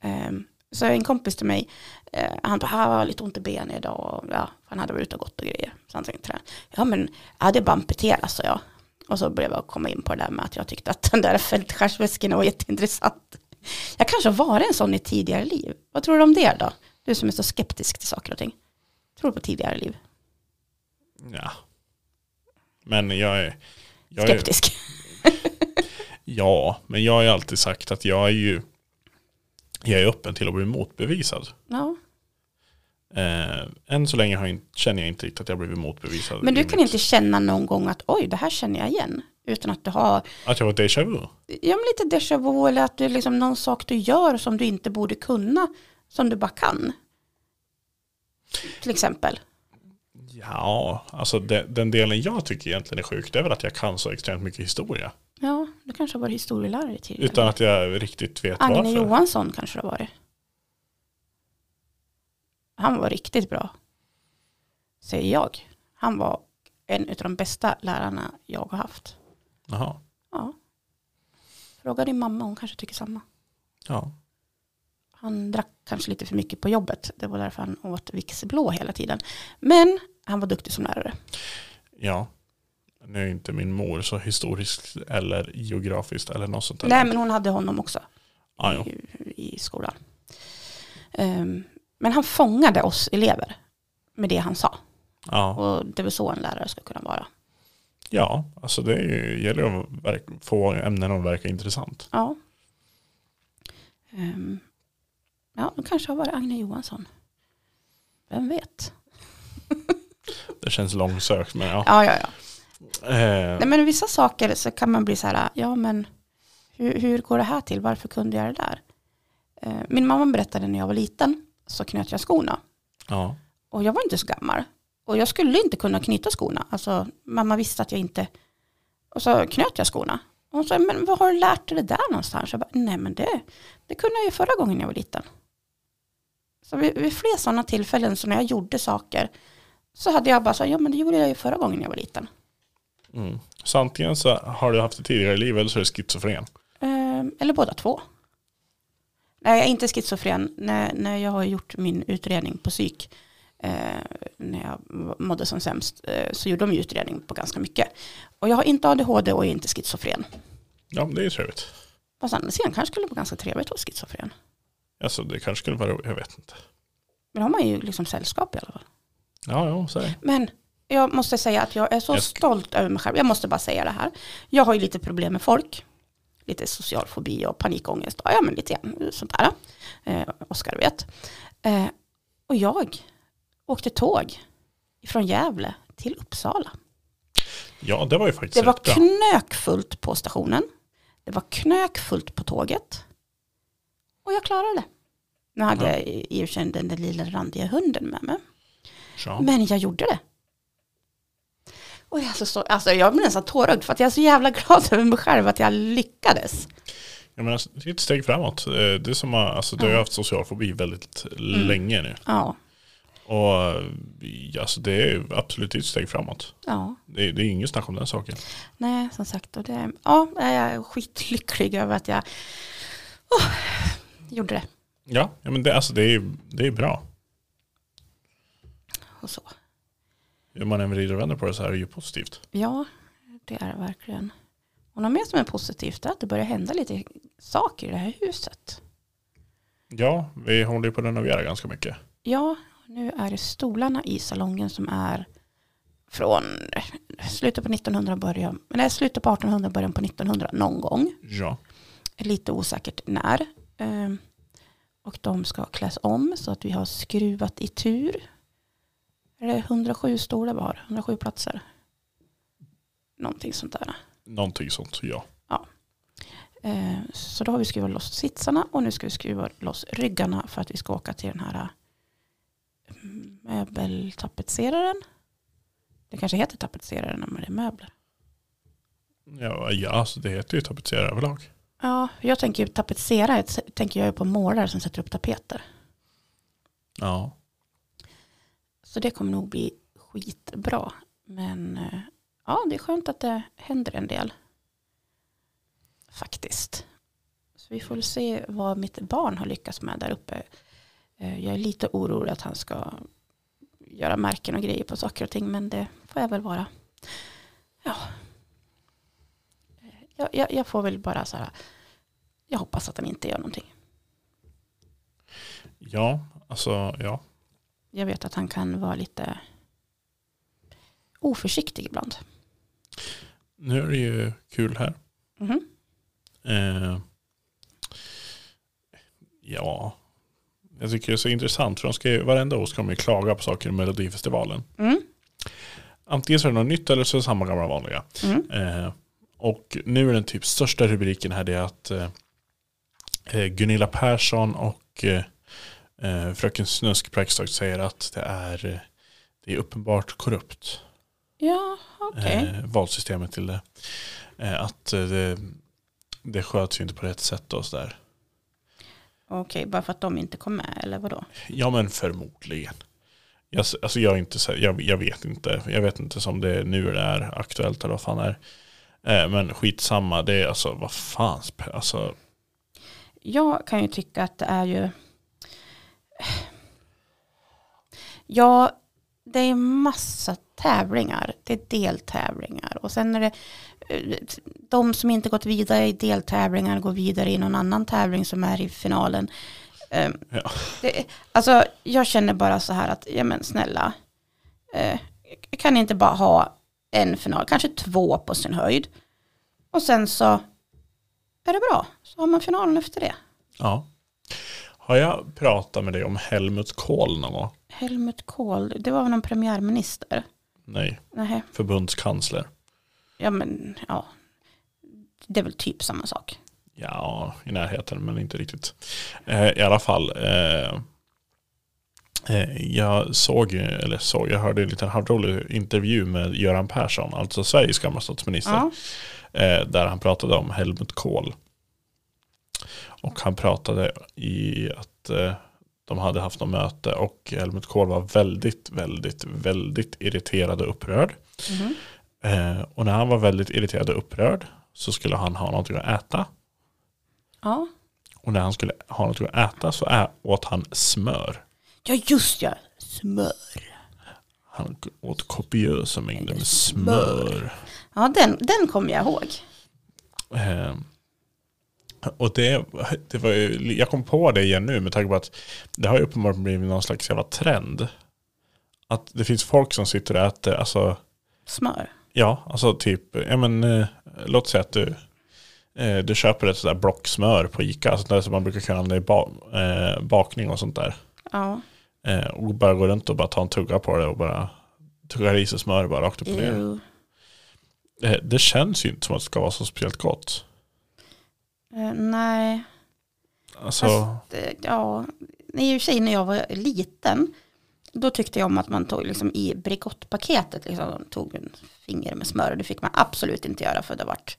Ehm, så en kompis till mig, eh, han bara, "Ah, jag har lite ont i benen idag och ja, han hade varit ute och gått och grejer. Så han tänkte, ja men, ja det är bara amputerat så jag. Och så blev jag komma in på det där med att jag tyckte att den där fältskärsväskan var jätteintressant. Jag kanske har varit en sån i tidigare liv. Vad tror du om det då? Du som är så skeptisk till saker och ting. Tror du på tidigare liv? Ja. Men jag är... Jag är Skeptisk. ja, men jag har ju alltid sagt att jag är ju... Jag är öppen till att bli motbevisad. Ja. Eh, än så länge har jag, in- känner jag inte riktigt att jag blivit motbevisad. Men i du kan mitt- inte känna någon gång att oj, det här känner jag igen. Utan att du har Att jag var déjà vu? ja, men lite déjà vu eller att det är liksom någon sak du gör som du inte borde kunna, som du bara kan. Till exempel. Ja, alltså det, den delen jag tycker egentligen är sjuk det är väl att jag kan så extremt mycket historia. Ja, du kanske har varit historielärare tidigare. Utan att jag riktigt vet Agne varför. Johansson kanske det har varit. Han var riktigt bra. Säger jag. Han var en av de bästa lärarna jag har haft. Jaha. Ja. Fråga din mamma, hon kanske tycker samma. Ja. Han drack kanske lite för mycket på jobbet. Det var därför han åt Vicks blå hela tiden. Men han var duktig som lärare. ja. Nu är inte min mor så historiskt eller geografiskt eller något sånt där. Nej, men hon hade honom också ah, jo. i, i skolan. Ehm, men han fångade oss elever med det han sa. ja. Och det var så en lärare ska kunna vara. ja, alltså det är ju, gäller ju att verk- få ämnen att verka intressant. Ja. Ehm, ja, då kanske har varit Agne Johansson. Vem vet? Det känns långsökt men ja. Ja, ja, ja. Eh, Nej, men vissa saker så kan man bli så här, ja men hur, hur går det här till? Varför kunde jag det där? Eh, Min mamma berättade när jag var liten så knöt jag skorna. ja. Och jag var inte så gammal. Och jag skulle inte kunna knyta skorna. Alltså mamma visste att jag inte... Och så knöt jag skorna. Och hon sa, men vad har du lärt dig det där någonstans? Jag bara, nej men det, det kunde jag ju förra gången jag var liten. Så vid, vid fler sådana tillfällen så när jag gjorde saker så hade jag bara så här, ja men det gjorde jag ju förra gången jag var liten. Mm. Så antingen så har du haft det tidigare i livet eller så är du schizofren. Ehm, eller båda två. Nej, jag är inte schizofren. När, när jag har gjort min utredning på psyk, eh, när jag mådde som sämst, eh, så gjorde de ju utredning på ganska mycket. Och jag har inte ADHD och är inte schizofren. Ja, men det är ju trevligt. Fast andra sidan kanske skulle vara ganska trevligt att vara schizofren. Alltså det kanske skulle vara roligt, jag vet inte. Men då har man ju liksom sällskap i alla fall. Ja, jo, så är det. Men eh, jag måste säga att jag är så Jag sk- stolt över mig själv. Jag måste bara säga det här. Jag har ju lite problem med folk. Lite social fobi och panikångest. Ja, men lite grann sånt där. Eh, Oskar vet. Eh, och jag åkte tåg från Gävle till Uppsala. Ja, det var ju faktiskt Det var rätt bra. knökfullt på stationen. Det var knökfullt på tåget. Och jag klarade det. Nu hade Ja. jag i i och för sig den där lilla randiga hunden med mig. Ja. Men jag gjorde det. Och jag, är så, stolt. alltså jag blir nästan tårögd för att jag är så jävla glad över mig själv att jag lyckades. Jag menar, det är ett steg framåt. Eh, Det är som, att- alltså, du har ju haft social fobi väldigt Mm. länge nu. Ja, Och eh, alltså, det är ju absolut ett steg framåt. ja. Det är, det är inget snack om den saken. Nej, som sagt. Och det, ja, jag är skitlycklig över att jag åh, gjorde det. Ja, ja men det, alltså, det, är, det är bra. Och så. Hur man än vrider och vänder på det så här är det ju positivt. Ja, det är det verkligen. Och något mer som är positivt är att det börjar hända lite saker i det här huset. Ja, vi håller ju på att renovera ganska mycket. Ja, nu är det stolarna i salongen som är från slutet på 1900 början, nej, slutet på 1800 början på 1900 någon gång. Ja. Lite osäkert när. Ehm, Och de ska kläs om så att vi har skruvat i tur. Är det 107 stolar var? 107 platser? Någonting sånt där. Någonting sånt, ja. Eh, Så då har vi skruvat loss sitsarna och nu ska vi skruva loss ryggarna för att vi ska åka till den här eh, möbeltapetseraren. Det kanske heter tapetseraren när det är möbler. Ja, ja alltså, det heter ju tapetserare överlag. Ja, jag tänker ju tapetsera, jag tänker jag ju på målare som sätter upp tapeter. Ja. Så det kommer nog bli skitbra. Men eh, ja, det är skönt att det händer en del. Faktiskt. Så vi får väl se vad mitt barn har lyckats med där uppe. Eh, Jag är lite orolig att han ska göra märken och grejer på saker och ting. Men det får jag väl vara. Ja. Eh, Jag, jag, jag får väl bara så här. Jag hoppas att han inte gör någonting. Ja, alltså ja. Jag vet att han kan vara lite oförsiktig ibland. Nu är det ju kul här. Mhm. Eh, ja, jag tycker det är så intressant för de ska ju, varenda år ska de ju klaga på saker i Melodifestivalen. Mm. Antingen så är det något nytt eller så är det samma gamla vanliga. Mm. Eh, och nu är den typ största rubriken här det är att eh, eh, Gunilla Persson och eh, eh, Fröken Snusk praktiskt säger att det är, eh, det är uppenbart korrupt. Ja, okej. eh, valsystemet till det. Eh, att eh, det, det sköts ju inte på rätt sätt och sådär. Okej, bara för att de inte kom med eller vadå? Ja men förmodligen. Jag, s- alltså jag, är inte, så- jag, jag vet inte. Jag vet inte som det är nu det är aktuellt eller vad fan det är. Eh, men skitsamma, det är alltså vad fan. sp- Alltså, Jag kan ju tycka att det är ju... Ja, det är massa tävlingar. Det är deltävlingar. Och sen är det eh, de som inte gått vidare i deltävlingar går vidare i någon annan tävling som är i finalen. Eh, Ja. det, alltså, jag känner bara så här att, ja men snälla, eh, kan ni inte bara ha en final, kanske två på sin höjd. Och sen så är det bra, så har man finalen efter det. ja. Har jag pratat med dig om Helmut Kohl någon gång? Helmut Kohl, det var väl någon premiärminister? Nej, Nej, förbundskansler. ja men ja. Det är väl typ samma sak. Ja, i närheten men inte riktigt. Eh, I alla fall. Eh, eh, jag såg, ju- eller såg, jag hörde en liten halvrolig intervju med Göran Persson, alltså Sveriges gamla statsminister. Ja, Eh, där han pratade om Helmut Kohl. Och han pratade i att eh, de hade haft något möte och Helmut Kohl var väldigt, väldigt, väldigt irriterad och upprörd. Mhm. Eh, och när han var väldigt irriterad och upprörd så skulle han ha någonting att äta. ja. Och när han skulle ha något att äta så ä- åt han smör. ja just ja, smör. Han åt kopiösa mängder med smör. Ja, den, den kommer jag ihåg. Eh, och det, det var ju, jag kom på det igen nu med tanke på att det har ju uppenbarligen blivit någon slags jävla trend. att det finns folk som sitter och äter, alltså, Smör. ja, alltså typ, ja men eh, låt säga att du, eh, du köper ett sådär block smör på Ica, sånt där som man brukar kunna använda i ba, eh, bakning och sånt där. Ja. Eh, och bara går runt och bara tar en tugga på det och bara tuggar i sig smör bara rakt upp och ner. Ew. Eh, det känns ju inte som att det ska vara så speciellt gott. Eh, nej. Alltså, Fast, eh, ja, i och för sig när jag var liten, då tyckte jag om att man tog liksom i Bregottpaketet, liksom, tog en finger med smör och det fick man absolut inte göra för det vart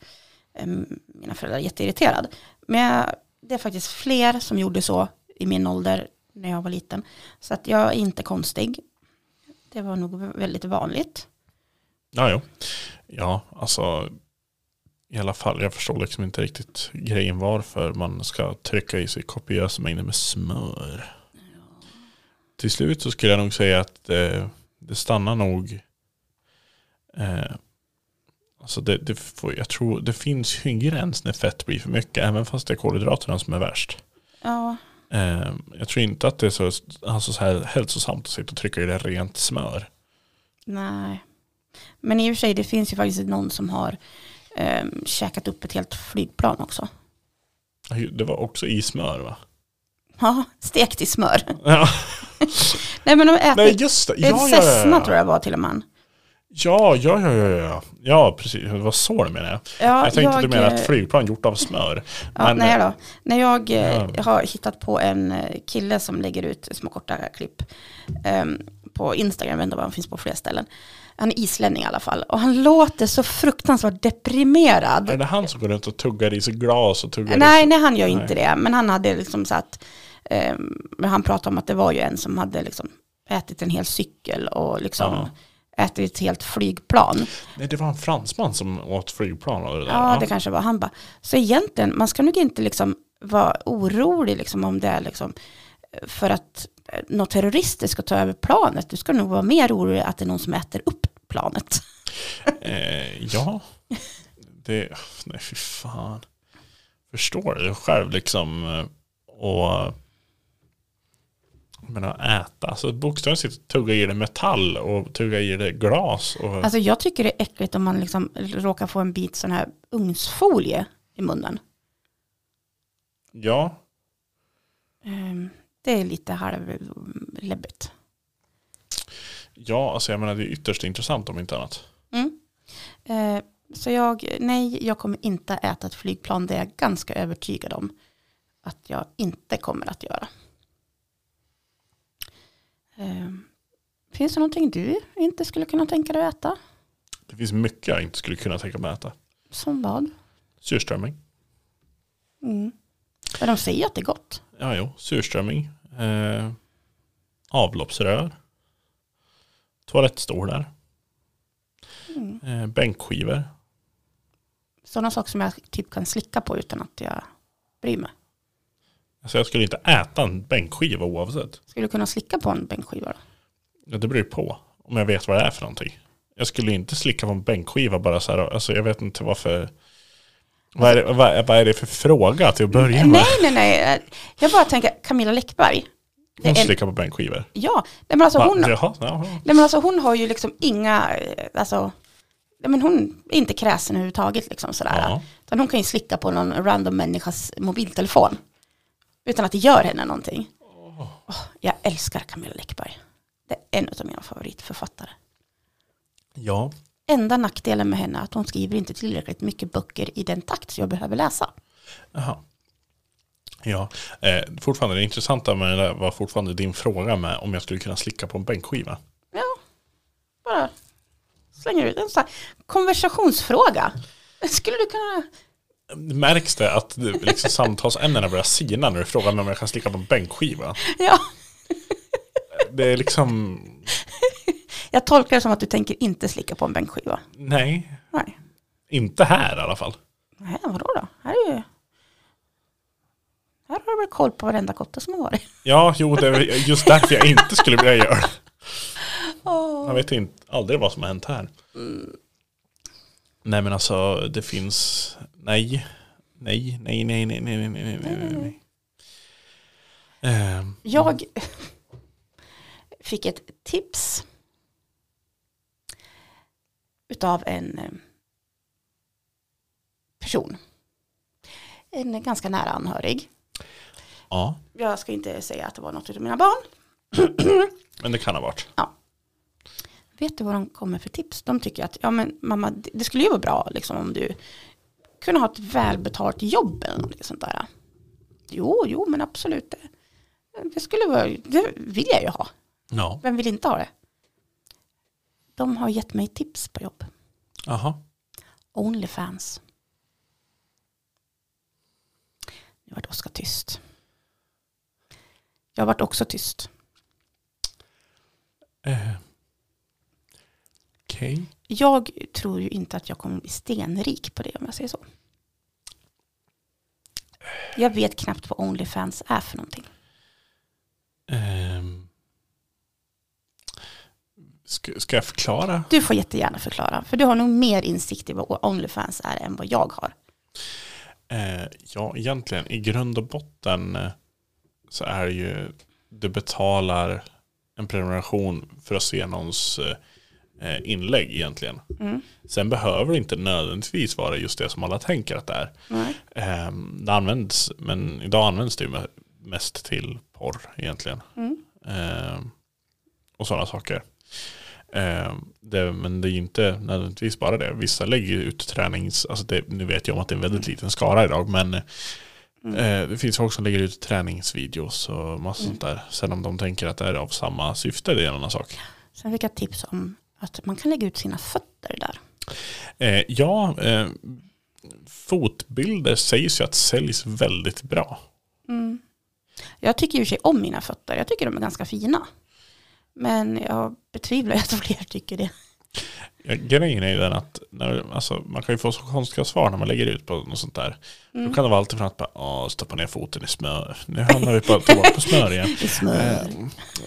eh, mina föräldrar jätteirriterade. Men jag, det är faktiskt fler som gjorde så i min ålder när jag var liten. Så att jag är inte konstig. Det var nog väldigt vanligt. ja jo. Ja, alltså i alla fall, jag förstår liksom inte riktigt grejen varför man ska trycka i sig kopiösa mängder med smör. Till slut så skulle jag nog säga att eh, det stannar nog eh, Alltså det, det får, jag tror det finns ju en gräns när fett blir för mycket, även fast det är kolhydraterna som är värst. Ja, Eh, jag tror inte att det är så, alltså så här hälsosamt att sitta och trycka i det rent smör. nej. Men i och för sig, det finns ju faktiskt någon som har eh, käkat upp ett helt flygplan också. Det var också i smör va? Ja, stekt i smör. Ja. Nej men de Nej äter, just det. en Ja, ja, Cessna ja, tror ja. jag var till och med. Ja, ja, ja, ja, ja. Ja, precis. Det var så du menade. Ja, jag tänkte att du menade ett eh, flygplan gjort av smör. Ja, men, nej då. När jag eh, Ja. har hittat på en eh, kille som lägger ut små korta klipp ehm, på Instagram, jag vet inte om han finns på fler ställen. Han är islänning i alla fall och han låter så fruktansvärt deprimerad. Är det han som går runt och tuggar i sig glas och tuggar i Nej, sig? nej, han gör ju inte det. Men han hade liksom satt, ehm, men han pratade om att det var ju en som hade liksom ätit en hel cykel och liksom Ja. ätit ett helt flygplan. Nej, det var en fransman som åt flygplan av det där. Ja, det kanske var han bara. Så egentligen, man ska nog inte liksom vara orolig liksom om det är liksom för att eh, några terrorister ska ta över planet. Du ska nog vara mer orolig att det är någon som äter upp planet. Eh, ja. Det, nej fy fan. Förstår du själv liksom eh, och jag menar äta. Alltså bokstavligen sitter och tuggar i det metall och tuggar i det glas. Och, Alltså jag tycker det är äckligt om man liksom råkar få en bit sån här ugnsfolie i munnen. ja, Ehm, Det är lite halvläbbigt. ja, alltså jag menar det är ytterst intressant om inte annat. Mm. Eh, Så jag, nej, jag kommer inte äta ett flygplan. Det är jag ganska övertygad om att jag inte kommer att göra. Eh, Finns det någonting du inte skulle kunna tänka dig att äta? Det finns mycket jag inte skulle kunna tänka mig att äta. Som vad? Surströmming. Mm. Men de säger ju att det är gott. Ja, jo, surströmming. Eh, avloppsrör. Toalettstolar. Mm. Eh, bänkskivor. Sådana saker som jag typ kan slicka på utan att jag bryr mig. Alltså jag skulle inte äta en bänkskiva oavsett. Skulle du kunna slicka på en bänkskiva då? Ja, det beror ju på om jag vet vad det är för någonting. Jag skulle inte slicka på en bänkskiva bara så här. Alltså jag vet inte varför. Vad är det, vad, är- vad är det för fråga till att börja med? Nej, nej, nej. Jag bara tänker Camilla Läckberg. det Hon är- slickar på bänkskivor. Ja, nej, men alltså Va? hon, Jaha, jaha. Nej men alltså hon har ju liksom inga, eh, alltså, nej, men hon är inte kräsen överhuvudtaget liksom sådär. Ja. Utan hon kan ju slicka på någon random människas mobiltelefon. Utan att det gör henne någonting. Åh, jag älskar Camilla Läckberg. Det är en av mina favoritförfattare. Ja. Enda nackdelen med henne är att hon skriver inte tillräckligt mycket böcker i den takt som jag behöver läsa. Jaha. Ja, eh, fortfarande det intressanta med det där var fortfarande din fråga med om jag skulle kunna slicka på en bänkskiva. Ja, bara slänger ut en sån här konversationsfråga. Skulle du kunna Märks det att du, liksom, samtalsämnena börjar sina när du frågar mig om jag kan slicka på en bänkskiva? Ja, Det är liksom, jag tolkar det som att du tänker inte slicka på en bänkskiva. nej, Nej. Inte här i alla fall. Nej, vadå då? Här är ju... Här har du väl koll på varenda kotte som har varit. Ja, jo, det är just därför jag inte skulle vilja göra det. Jag vet inte, aldrig vad som har hänt här. Nej, men alltså det finns, nej, nej, nej, nej, nej, nej, nej, nej, nej, nej, nej. Ehm, Jag fick ett tips utav en eh, person. En ganska nära anhörig. Ja, Jag ska inte säga att det var något utav mina barn. men det kan ha varit. Vet du vad de kommer för tips? De tycker att ja, men mamma, det- det skulle ju vara bra liksom, om du kunde ha ett välbetalt jobb eller något sånt där. Jo, jo, men absolut. det- Det, skulle vara, det vill jag ju ha. Ja. Vem vill inte ha det? De har gett mig tips på jobb. Aha. Onlyfans. Nu vart Oskar tyst. Jag vart också tyst. Eh. Okej. Jag tror ju inte att jag kommer bli stenrik på det om jag säger så. Jag vet knappt vad Onlyfans är för någonting. Ehm. Ska, ska jag förklara? Du får jättegärna förklara, för du har nog mer insikt i vad Onlyfans är än vad jag har. Eh, ja, egentligen i grund och botten eh, så är det ju du betalar en prenumeration för att se någons eh, eh, inlägg egentligen. Mm. Sen behöver det inte nödvändigtvis vara just det som alla tänker att det är. Nej. Eh, det används, men idag används det ju me- mest till porr egentligen. Mm. Eh, och sådana saker. Eh, det, men det är ju inte nödvändigtvis bara det. Vissa lägger ju ut tränings... Alltså det, nu vet jag om att det är en väldigt liten skara idag. Men eh, det finns folk som lägger ut träningsvideos och massa sånt där. Sen om de tänker att det är av samma syfte, det är en annan sak. Sen fick jag tips om att man kan lägga ut sina fötter där. Eh, ja, eh, fotbilder sägs ju att säljs väldigt bra. Mm. Jag tycker i och för sig om mina fötter. Jag tycker de är ganska fina. Men jag betvivlar ju att fler tycker det. Ja, Grejen är ju den att när, alltså, man kan ju få så konstiga svar när man lägger ut på något sånt där. Då kan det vara allt från att bara, "Åh, stoppa ner foten i smör. Nu hamnar vi på toa på smör igen. I smör.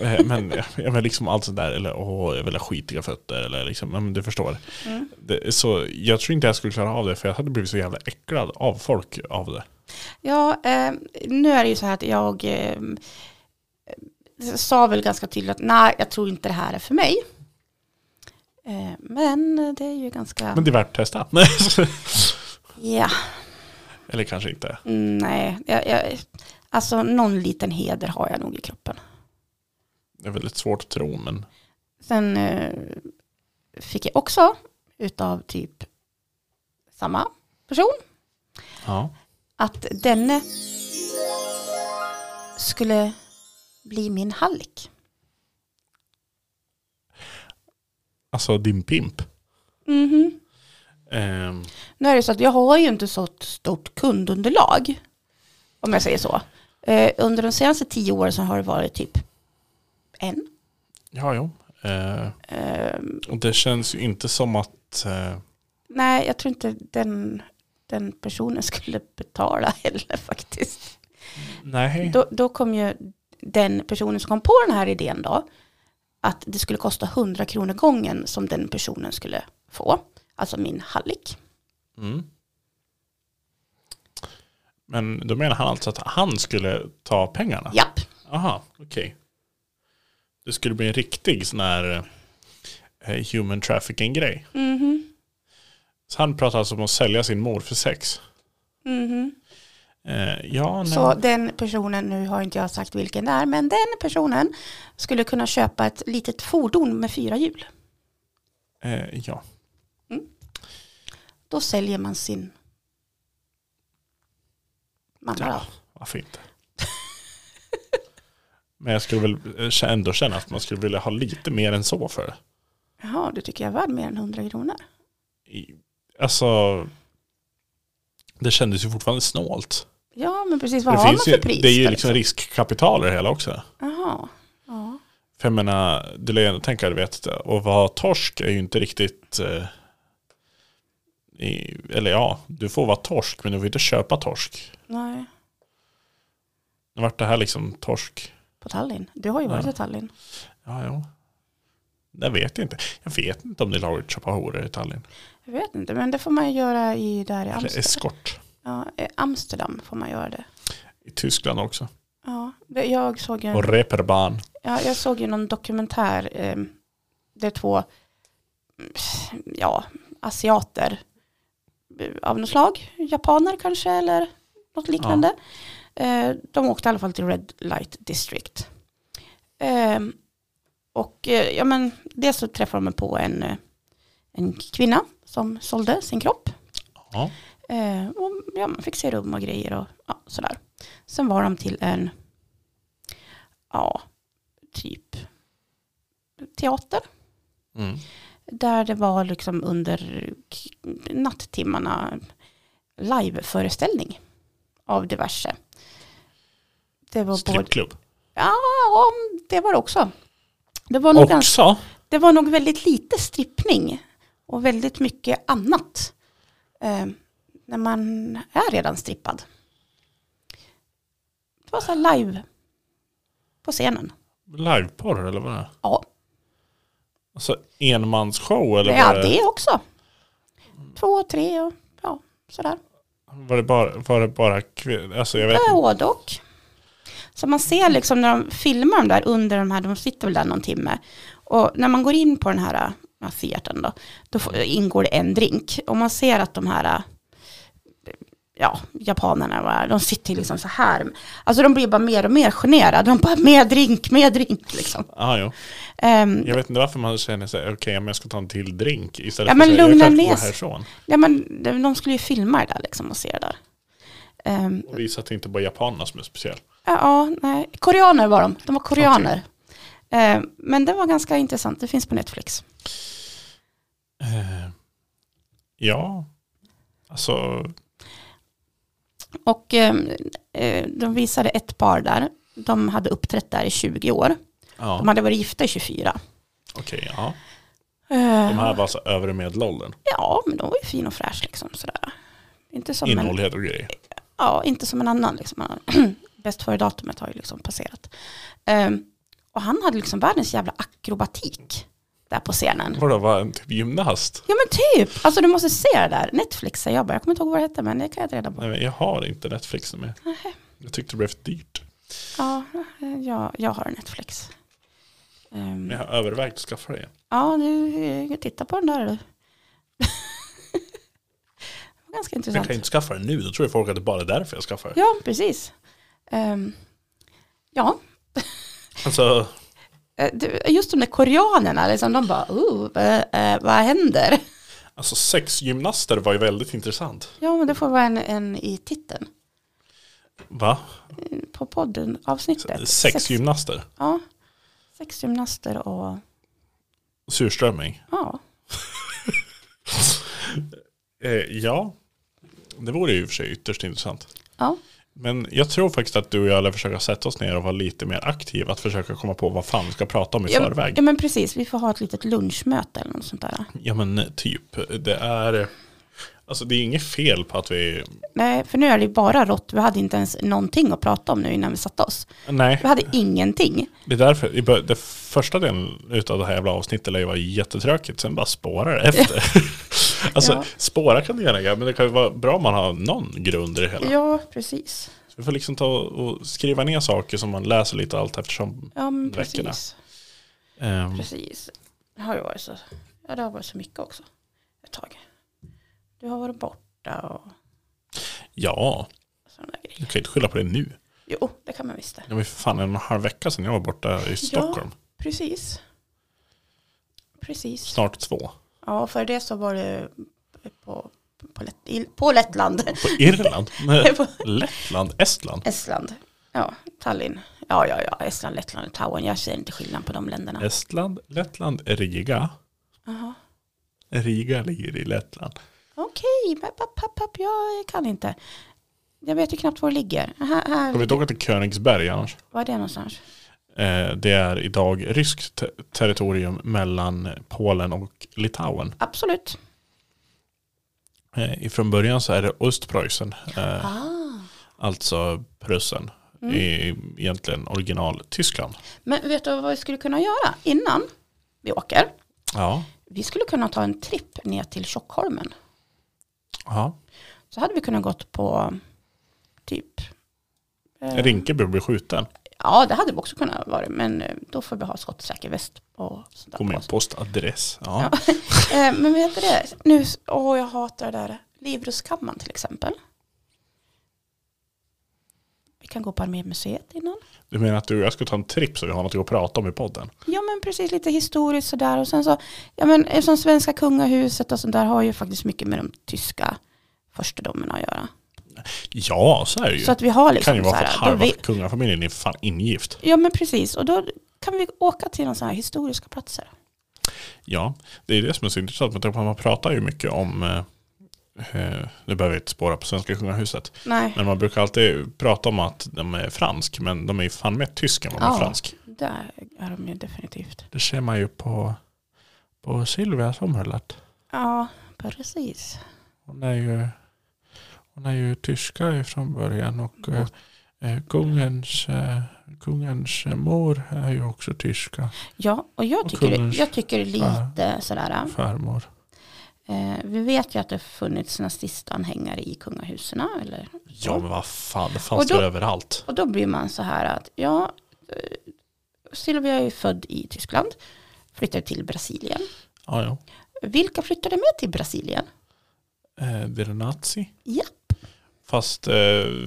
Eh, eh, men, ja, men liksom allt sånt där, eller åh, jag vill ha skitiga fötter, eller liksom, ja, men du förstår. Mm. Det, så jag tror inte jag skulle klara av det, för jag hade blivit så jävla äcklad av folk av det. Ja, eh, nu är det ju så här att jag eh, sa väl ganska tydligt att nej, jag tror inte det här är för mig. Eh, men det är ju ganska... Men det är värt att testa. Ja, eller kanske inte. mm, nej. Jag, jag, alltså någon liten heder har jag nog i kroppen. Det är väldigt svårt att tro, men Sen eh, fick jag också utav typ samma person ja. att denne skulle bli min hallick. Alltså din pimp. Mhm. Ehm, Nu är det så att jag har ju inte så stort kundunderlag, om jag säger så. Eh, under de senaste tio åren så har det varit typ en. ja, jo. Eh, Eh, Och det känns ju inte som att eh, nej, jag tror inte den, den personen skulle betala heller faktiskt. Nej. Då, då kom ju den personen som kom på den här idén då, att det skulle kosta 100 kronor gången som den personen skulle få, alltså min hallick. Mm. Men då menar han alltså att han skulle ta pengarna? Japp. Aha, okej. Det skulle bli en riktig sån här eh, human trafficking grej. Mhm. Så han pratar alltså om att sälja sin mor för sex. Mhm. Eh, ja, nej. Så den personen, nu har inte jag sagt vilken det är, men den personen skulle kunna köpa ett litet fordon med fyra hjul. Eh, ja. Då säljer man sin mamma. ja, Ja. varför inte? Men jag skulle väl eh, ändå känna att man skulle vilja ha lite mer än så för det. Jaha, du tycker jag är värd mer än 100 kronor? i- alltså, det kändes ju fortfarande snålt. Ja, men precis. Det, Vad har man finns för ju, pris? det är ju då, liksom? liksom riskkapital i det hela också. Jaha. Ja. För jag menar, du lär ju ändå tänka, du vet, och vara torsk är ju inte riktigt... Eh, i, eller ja, du får vara torsk, men du får inte köpa torsk. Nej, Nu vart det här liksom torsk. på Tallinn. Du har ju varit Ja. i Tallinn. Ja, jo. Jag vet inte. Jag vet inte om det är lagligt att köpa horor i Tallinn. Jag vet inte, men det får man ju göra i, där i Eller Amsterdam. eskort. Ja, i Amsterdam får man göra det. I Tyskland också. Ja, det- jag såg ju en Och reperban. ehm, Ja, jag såg ju någon dokumentär. Eh, det är två mm, ja, asiater eh, av något slag. Japaner kanske eller något liknande. Eh, de åkte i alla fall till Red Light District. Eh, och eh, ja, men dels så träffade de på en, eh, en kvinna som sålde sin kropp. Ja. Eh, och, ja, man fick se rum och grejer och ja, sådär. Sen var de till en, ja, typ teater. Mm. Där det var liksom under k- nattimmarna liveföreställning av diverse. Det var både, Strippklubb. ja, om- det var det också. Det var, nog ganska, Också? det var nog väldigt lite strippning och väldigt mycket annat. Eh, när man är redan strippad. Det var så här live på scenen. Liveporr eller vad det är? Ja, Alltså enmansshow eller ja var, det också. Två, tre och ja, sådär. var det bara, var det bara kvinnor? Alltså jag vet Ja, inte. både och. Så man ser liksom när de filmar de där under de här, de sitter väl där någon timme. Och när man går in på den här ja, theatern då, då får- ingår det en drink. Och man ser att de här, ja, japanerna, va, de sitter liksom så här. Alltså de blir bara mer och mer generade. De bara, mer drink, mer drink liksom. Ah, jo. Ehm, Jag vet inte varför man känner sig, okej men jag ska ta en till drink istället Ja, för men att säga, lugna jag kan ner gå sig. härifrån. ja, men de de skulle ju filma det där liksom och se det där. Ehm, Och visa att det inte bara är japanerna som är speciell. Ja, ja, nej. Koreaner var de. De var koreaner. Eh, men det var ganska intressant. Det finns på Netflix. Eh, ja, alltså Och eh, eh, de visade ett par där. De hade uppträtt där i 20 år. ja, De hade varit gifta i 24. okej. ja. Eh, De här var alltså övre medelåldern. Ja, men de var ju fin och fräsch liksom. Sådär. Inte som en Innehållighet och grejer. ja, inte som en annan. Liksom. Bäst före datumet har ju liksom passerat. Ehm, och han hade liksom världens jävla akrobatik där på scenen. Vadå, var en typ gymnast? Ja men typ, alltså du måste se det där. Netflix säger jag bara, jag kommer inte ihåg vad det hette men det kan jag ta reda på. Nej, men jag har inte Netflix med. Nähä. Jag tyckte det blev för dyrt. Ja, eh, jag, jag har Netflix. Ehm, Men jag har övervägt att skaffa det. ja, du eh, titta på den där du. Ganska Jag intressant. kan ju inte skaffa det nu, då tror ju folk att det bara är därför jag skaffar det. Ja, precis. Ehm, ja, Alltså, eh, du, just de där koreanerna, liksom, de bara, oh, eh, eh, vad händer? alltså sexgymnaster var ju väldigt intressant. Ja, men det får vara en, en i titeln Va? eh, på podden, avsnittet. Sex, Sexgymnaster? ja, sexgymnaster och, Surströmming? ja, Eh, ja, det vore ju i och för sig ytterst intressant. ja. Men jag tror faktiskt att du och jag lär försöka sätta oss ner och vara lite mer aktiva. Att försöka komma på vad fan vi ska prata om i Ja, förväg. ja, men precis, vi får ha ett litet lunchmöte eller något sånt där. Ja men typ, det är Alltså det är inget fel på att vi Nej, för nu är det ju bara rått. Vi hade inte ens någonting att prata om nu innan vi satte oss. Nej, Vi hade ingenting. det är därför i bör- Det första delen utav det här jävla avsnittet lär ju vara jättetråkigt Sen bara spårar det efter Alltså Ja. spåra kan du gärna göra Men det kan ju vara bra om man har någon grund i det hela Ja, precis. Så Vi får liksom ta och skriva ner saker som man läser lite allt eftersom Ja, men Veckorna. precis. ehm, Precis. Det har ju varit så. Ja, det har varit så mycket också. Ett tag. Du har varit borta och Ja, sådana där grejer. du kan ju inte skylla på det nu Jo, det kan man visst det. Det var ju för fan en och en halv vecka sedan jag var borta i Stockholm Precis. Precis. Snart två Ja, för det så var det på, på, Lett, i- på Lettland. På Irland, På Lettland, Estland Estland. Ja, Tallinn. Ja, ja, ja. Estland, Lettland, Litauen. Jag ser inte skillnad på de länderna. Estland, Lettland, Riga. Jaha. Riga ligger i Lettland. Okej, men papp, papp, papp, jag kan inte. Jag vet ju knappt var det ligger. Här, Ska vi här, inte åka till Königsberg annars? var är det någonstans? Eh, det är idag ryskt te- territorium mellan Polen och Litauen. Absolut. Eh, från början så är det Östpreussen, eh, Ah. Mm. alltså Prussen, i egentligen original Tyskland. Men vet du vad vi skulle kunna göra innan vi åker? Ja. Vi skulle kunna ta en tripp ner till Tjockholmen. ja. Så hade vi kunnat gått på typ... eh, Rinkeby blir skjuten. Ja, det hade vi också kunnat vara, men eh, då får vi ha skottsäker väst och sådär Kom på igen, oss. postadress. Ja. Eh, men vad heter det? Nu, åh, jag hatar det där. Livrustkammaren till exempel. Vi kan gå på Armémuseet innan. Du menar att du och jag ska ta en tripp så vi har något att prata om i podden? Ja men precis lite historiskt sådär och sen så, ja men eftersom svenska kungahuset och sånt där har ju faktiskt mycket med de tyska furstedomarna att göra. Ja, så är det ju. Så att vi har det kan liksom ju så vara för att här, då halva vi, kungafamiljen är fan ingift. ja men precis och då kan vi åka till några sådana här historiska platser. Ja, det är det som är så intressant. Men tänk på att man pratar ju mycket om, eh, eh, nu behöver vi inte spåra på svenska kungahuset, Nej, men man brukar alltid prata om att de är fransk, men de är ju fan mer tysk än vad de är Ja. fransk. där är de ju definitivt. Det ser man ju på, på Silvia Sommerlath. Ja, precis. Hon är ju, hon är ju tyska från början och Mm. eh, eh, kungens, eh, kungens mor är ju också tyska Ja, och jag Och tycker, kungens- jag tycker lite sådär, farmor. eh, vi vet ju att det har funnits nazistanhängare i kungahusen eller Ja men vad fan, det fanns Och då- det överallt. Och då blir man så här att, ja, eh, Silvia är ju född i Tyskland, flyttade till Brasilien. Ja, ja. Vilka flyttade med till Brasilien? Eh, det är en nazi. Ja. Fast eh,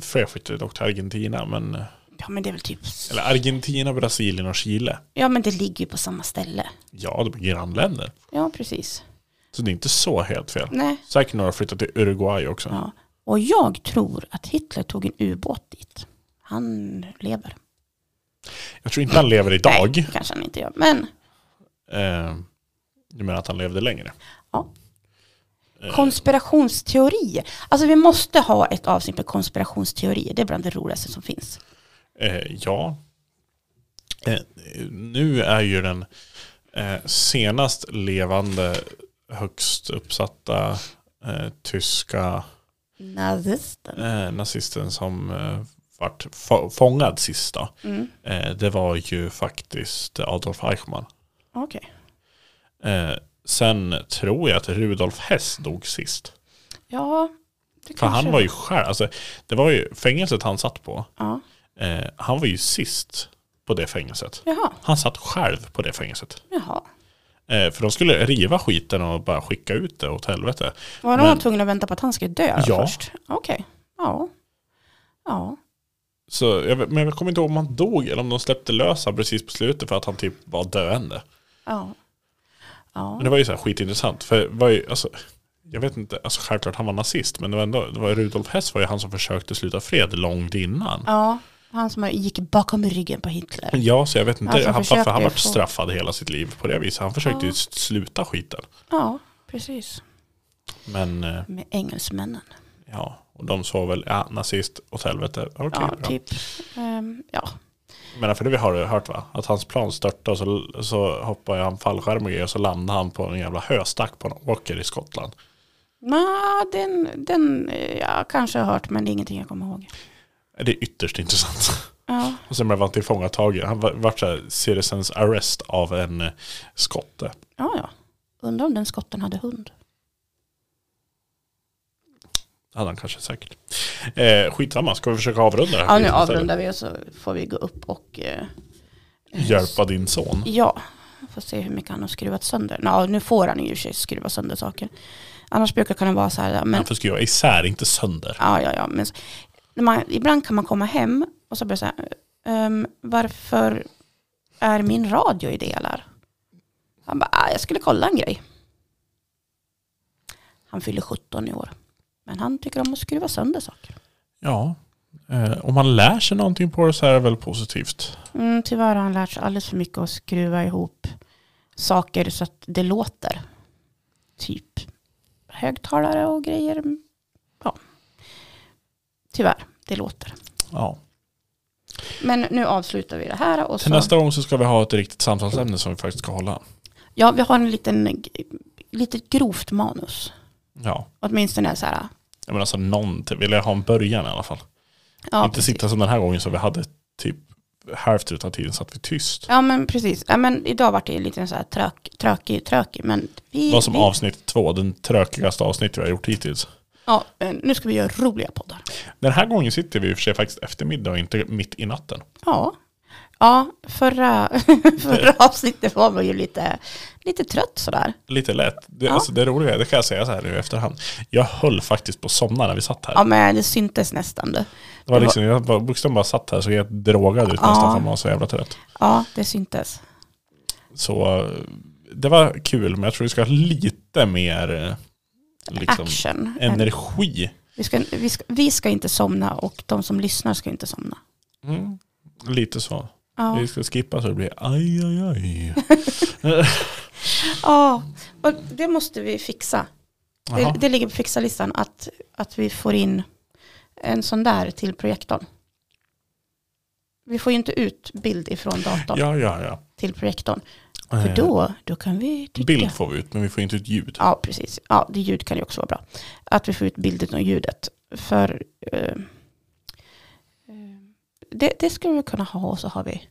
fler flyttade dock till Argentina. Men, eh, Ja men det är väl typ, eller Argentina, Brasilien och Chile. ja men det ligger ju på samma ställe. Ja, de är grannländer. Ja precis. Så det är inte så helt fel. Nej. Säkert några flyttade till Uruguay också. Ja. Och jag tror att Hitler tog en ubåt dit. Han lever. Jag tror inte han lever idag. Nej, kanske han inte gör. Men Eh, du menar att han levde längre? Ja. Eh, konspirationsteorier. Alltså vi måste ha ett avsnitt med konspirationsteorier. Det är bland det roligaste som finns. Eh, ja. Eh, nu är ju den eh, senast levande högst uppsatta eh, tyska Nazisten. eh, nazisten som eh, vart fa- fångad sista. Mm. Eh, det var ju faktiskt Adolf Eichmann. Okej. Eh, sen tror jag att Rudolf Hess dog sist. Ja. Det För han kanske- var ju själv, alltså, det var ju fängelset han satt på. Ja. Eh, han var ju sist på det fängelset. Jaha. Han satt själv på det fängelset. Jaha. Eh, för de skulle riva skiten och bara skicka ut det åt helvete. Var Men- de tvungna att vänta på att han skulle dö Ja. först? Okej. Ja. Ja. Så jag, vet- men jag kommer inte ihåg om han dog eller om de släppte lös han precis på slutet för att han typ var döende. Ja. Men Ja. det var ju så här skitintressant. För det var ju, alltså, jag vet inte, alltså självklart han var nazist men det var ändå, det var Rudolf Hess var ju han som försökte sluta fred långt innan. ja. Han som gick bakom ryggen på Hitler. Ja, så jag vet inte, Alltså, han han, för försökte han ju var få- straffad hela sitt liv på det viset. Han försökte ju s- sluta skiten. Ja, precis. Men eh, Med engelsmännen. ja, och de sa väl, ja, nazist åt helvete. Okej, Ja, bra. typ. Ehm, ja. Men för det vi har hört va? Att hans plan störtade och så, så hoppade han fallskärm och grejer och så landade han på en jävla höstack på en åker i Skottland. Nå, den, den eh, jag kanske har hört men det är ingenting jag kommer ihåg. Det är ytterst intressant. Ja. Och sen blev han tillfångatagen. Han var- vart så här citizens arrest av en eh, skotte. Ja, ja. Undrar om den skotten hade hund. Det hade han kanske säkert. Eh, skitsamma, ska vi försöka avrunda det här? Ja, nu skiten avrundar vi och så får vi gå upp och eh, istället? Hjälpa din son. Ja, får se hur mycket han har skruvat sönder. Nå, nu får han ju i och för sig skruva sönder saker. Annars brukar det kunna vara så här, men, Han får skriva isär, inte sönder. ja, ja, ja, men så- när man, ibland kan man komma hem och så blir det så här, "Ehm, varför är min radio i delar? Han bara, ah, jag skulle kolla en grej. Han fyller 17 i år. Men han tycker om att skruva sönder saker. Ja. Eh, om man lär sig någonting på det så är det väl positivt. Mm, tyvärr har han lärt sig alldeles för mycket att skruva ihop saker så att det låter. Typ högtalare och grejer. Ja. Tyvärr, det låter. Ja. Men nu avslutar vi det här. Och Till så, nästa gång så ska vi ha ett riktigt samtalsämne som vi faktiskt ska hålla. ja, vi har en liten, litet grovt manus. Ja. Åtminstone så här. Ja, men alltså någonting, vill jag ha en början i alla fall. Ja, inte precis. sitta som den här gången som vi hade typ hälften av tiden satt vi tyst. Ja men precis. Ja, men idag var det en liten så här trök, trökig, trökig. Men vi, Det var som vi, avsnitt två, den trökigaste avsnitt vi har gjort hittills. ja, men nu ska vi göra roliga poddar. Den här gången sitter vi i och för sig faktiskt eftermiddag och inte mitt i natten. Ja, Ja, förra, förra avsnittet var man ju lite, lite trött sådär. Lite lätt. Det, Ja. alltså, det roliga, det kan jag säga så här nu i efterhand. Jag höll faktiskt på att somna när vi satt här. Ja, men det syntes nästan. Det. det var det liksom, jag bara, bokstavligen bara satt här så helt drogad ut Ja. nästan för man var så jävla trött. Ja, det syntes. Så eh, det var kul, men jag tror vi ska ha lite mer eh, liksom, Action. energi. Vi ska, vi, ska, vi ska inte somna och de som lyssnar ska inte somna. Mm. Lite så. Ja. Vi ska skippa så det blir aj, aj, aj. Ja, och det måste vi fixa. Det, Jaha. det ligger på fixa-listan att, att vi får in en sån där till projektorn. Vi får ju inte ut bild ifrån datorn Ja, ja, ja. till projektorn. Eh, För då, då kan vi trycka. Bild får vi ut, men vi får inte ut ljud. Ja, precis. Ja, det ljud kan ju också vara bra. Att vi får ut bilden och ljudet. För eh, eh, det, det skulle vi kunna ha och så har vi,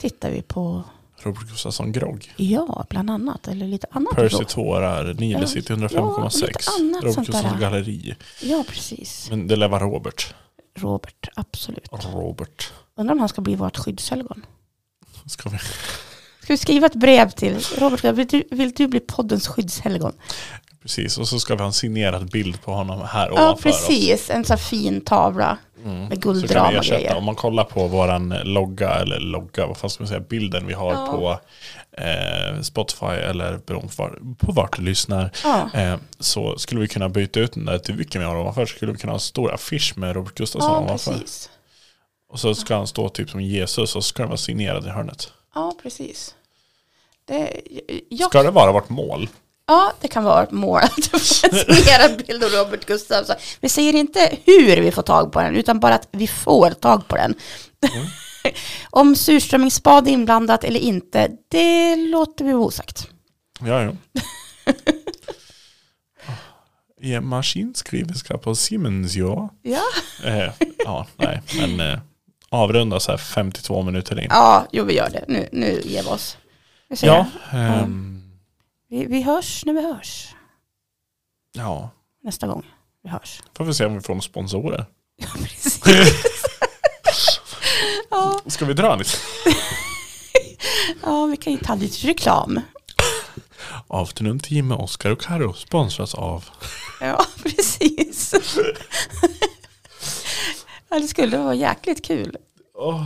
tittar vi på, Robert Gustafsson Grogg. ja, bland annat, eller lite annat. Percy då. tårar, Nile Ja, City ja, 105,6. lite annat Robert sånt där. Gustafsson galleri. Ja, precis. Men det lär vara Robert. Robert, absolut. Robert. Undrar om han ska bli vårt skyddshelgon. Ska vi? Ska vi skriva ett brev till Robert? Vill du, vill du bli poddens skyddshelgon? Precis, och så ska vi ha en signerad bild på honom här Ja, ovanför oss. precis. En sån här fin tavla Mm. med Så kan vi guldram och ersätta, grejer. om man kollar på våran logga, eller logga, vad fan ska man säga, bilden vi har Ja. på eh, Spotify eller beroende på var- på vart du lyssnar, Ja. eh, så skulle vi kunna byta ut den där duken vi har ovanför, så skulle vi kunna ha en stor affisch med Robert Gustafsson ja, ovanför. precis. Och så ska han stå typ som Jesus och så ska den vara signerad i hörnet. Ja, precis. Det, jag, Ska det vara vårt mål? ja, det kan vara ett mål att få en signerad bild av Robert Gustafsson. Vi säger inte hur vi får tag på den, utan bara att vi får tag på den. Om surströmmingsspad är inblandat eller inte, det låter vi vara osagt. Ja, jo. I en maskinskriverska på Siemens, ja. Ja. Eh, ja, nej, men eh, avrunda så här 52 minuter in. Ja, jo vi gör det. Nu, nu ger vi oss. Vi, säger Ja, det. ehm, vi, vi hörs när vi hörs. ja. Nästa gång vi hörs. Får vi se om vi får några sponsorer. Ja, precis. ja, Ska vi dra lite? ja, vi kan ju ta lite reklam. Afternoon Tea med Oscar och Karo sponsras av. Ja, precis. ja, det skulle vara jäkligt kul. Oh.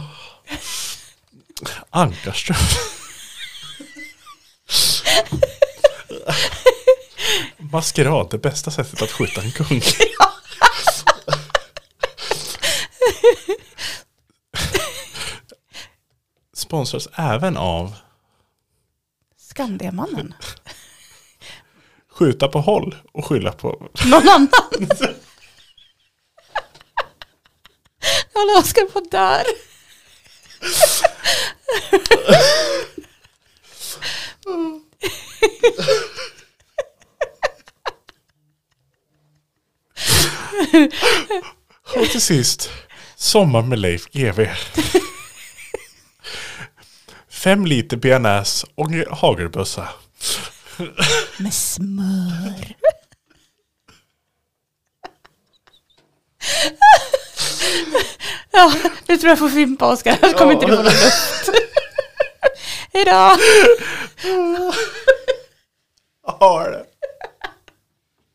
Ankarström. Maskerad, det bästa sättet att skjuta en kung. Sponsras även av Skandiamannen. skjuta på håll och skylla på... Någon annan. Alla Oskar på där. Och till sist, Sommar med Leif GW. Fem liter bearnaise och en hagelbössa. Med smör. ja, nu tror jag får fimpa Oskar. Jag kommer inte ihåg något. Hejdå! Har det.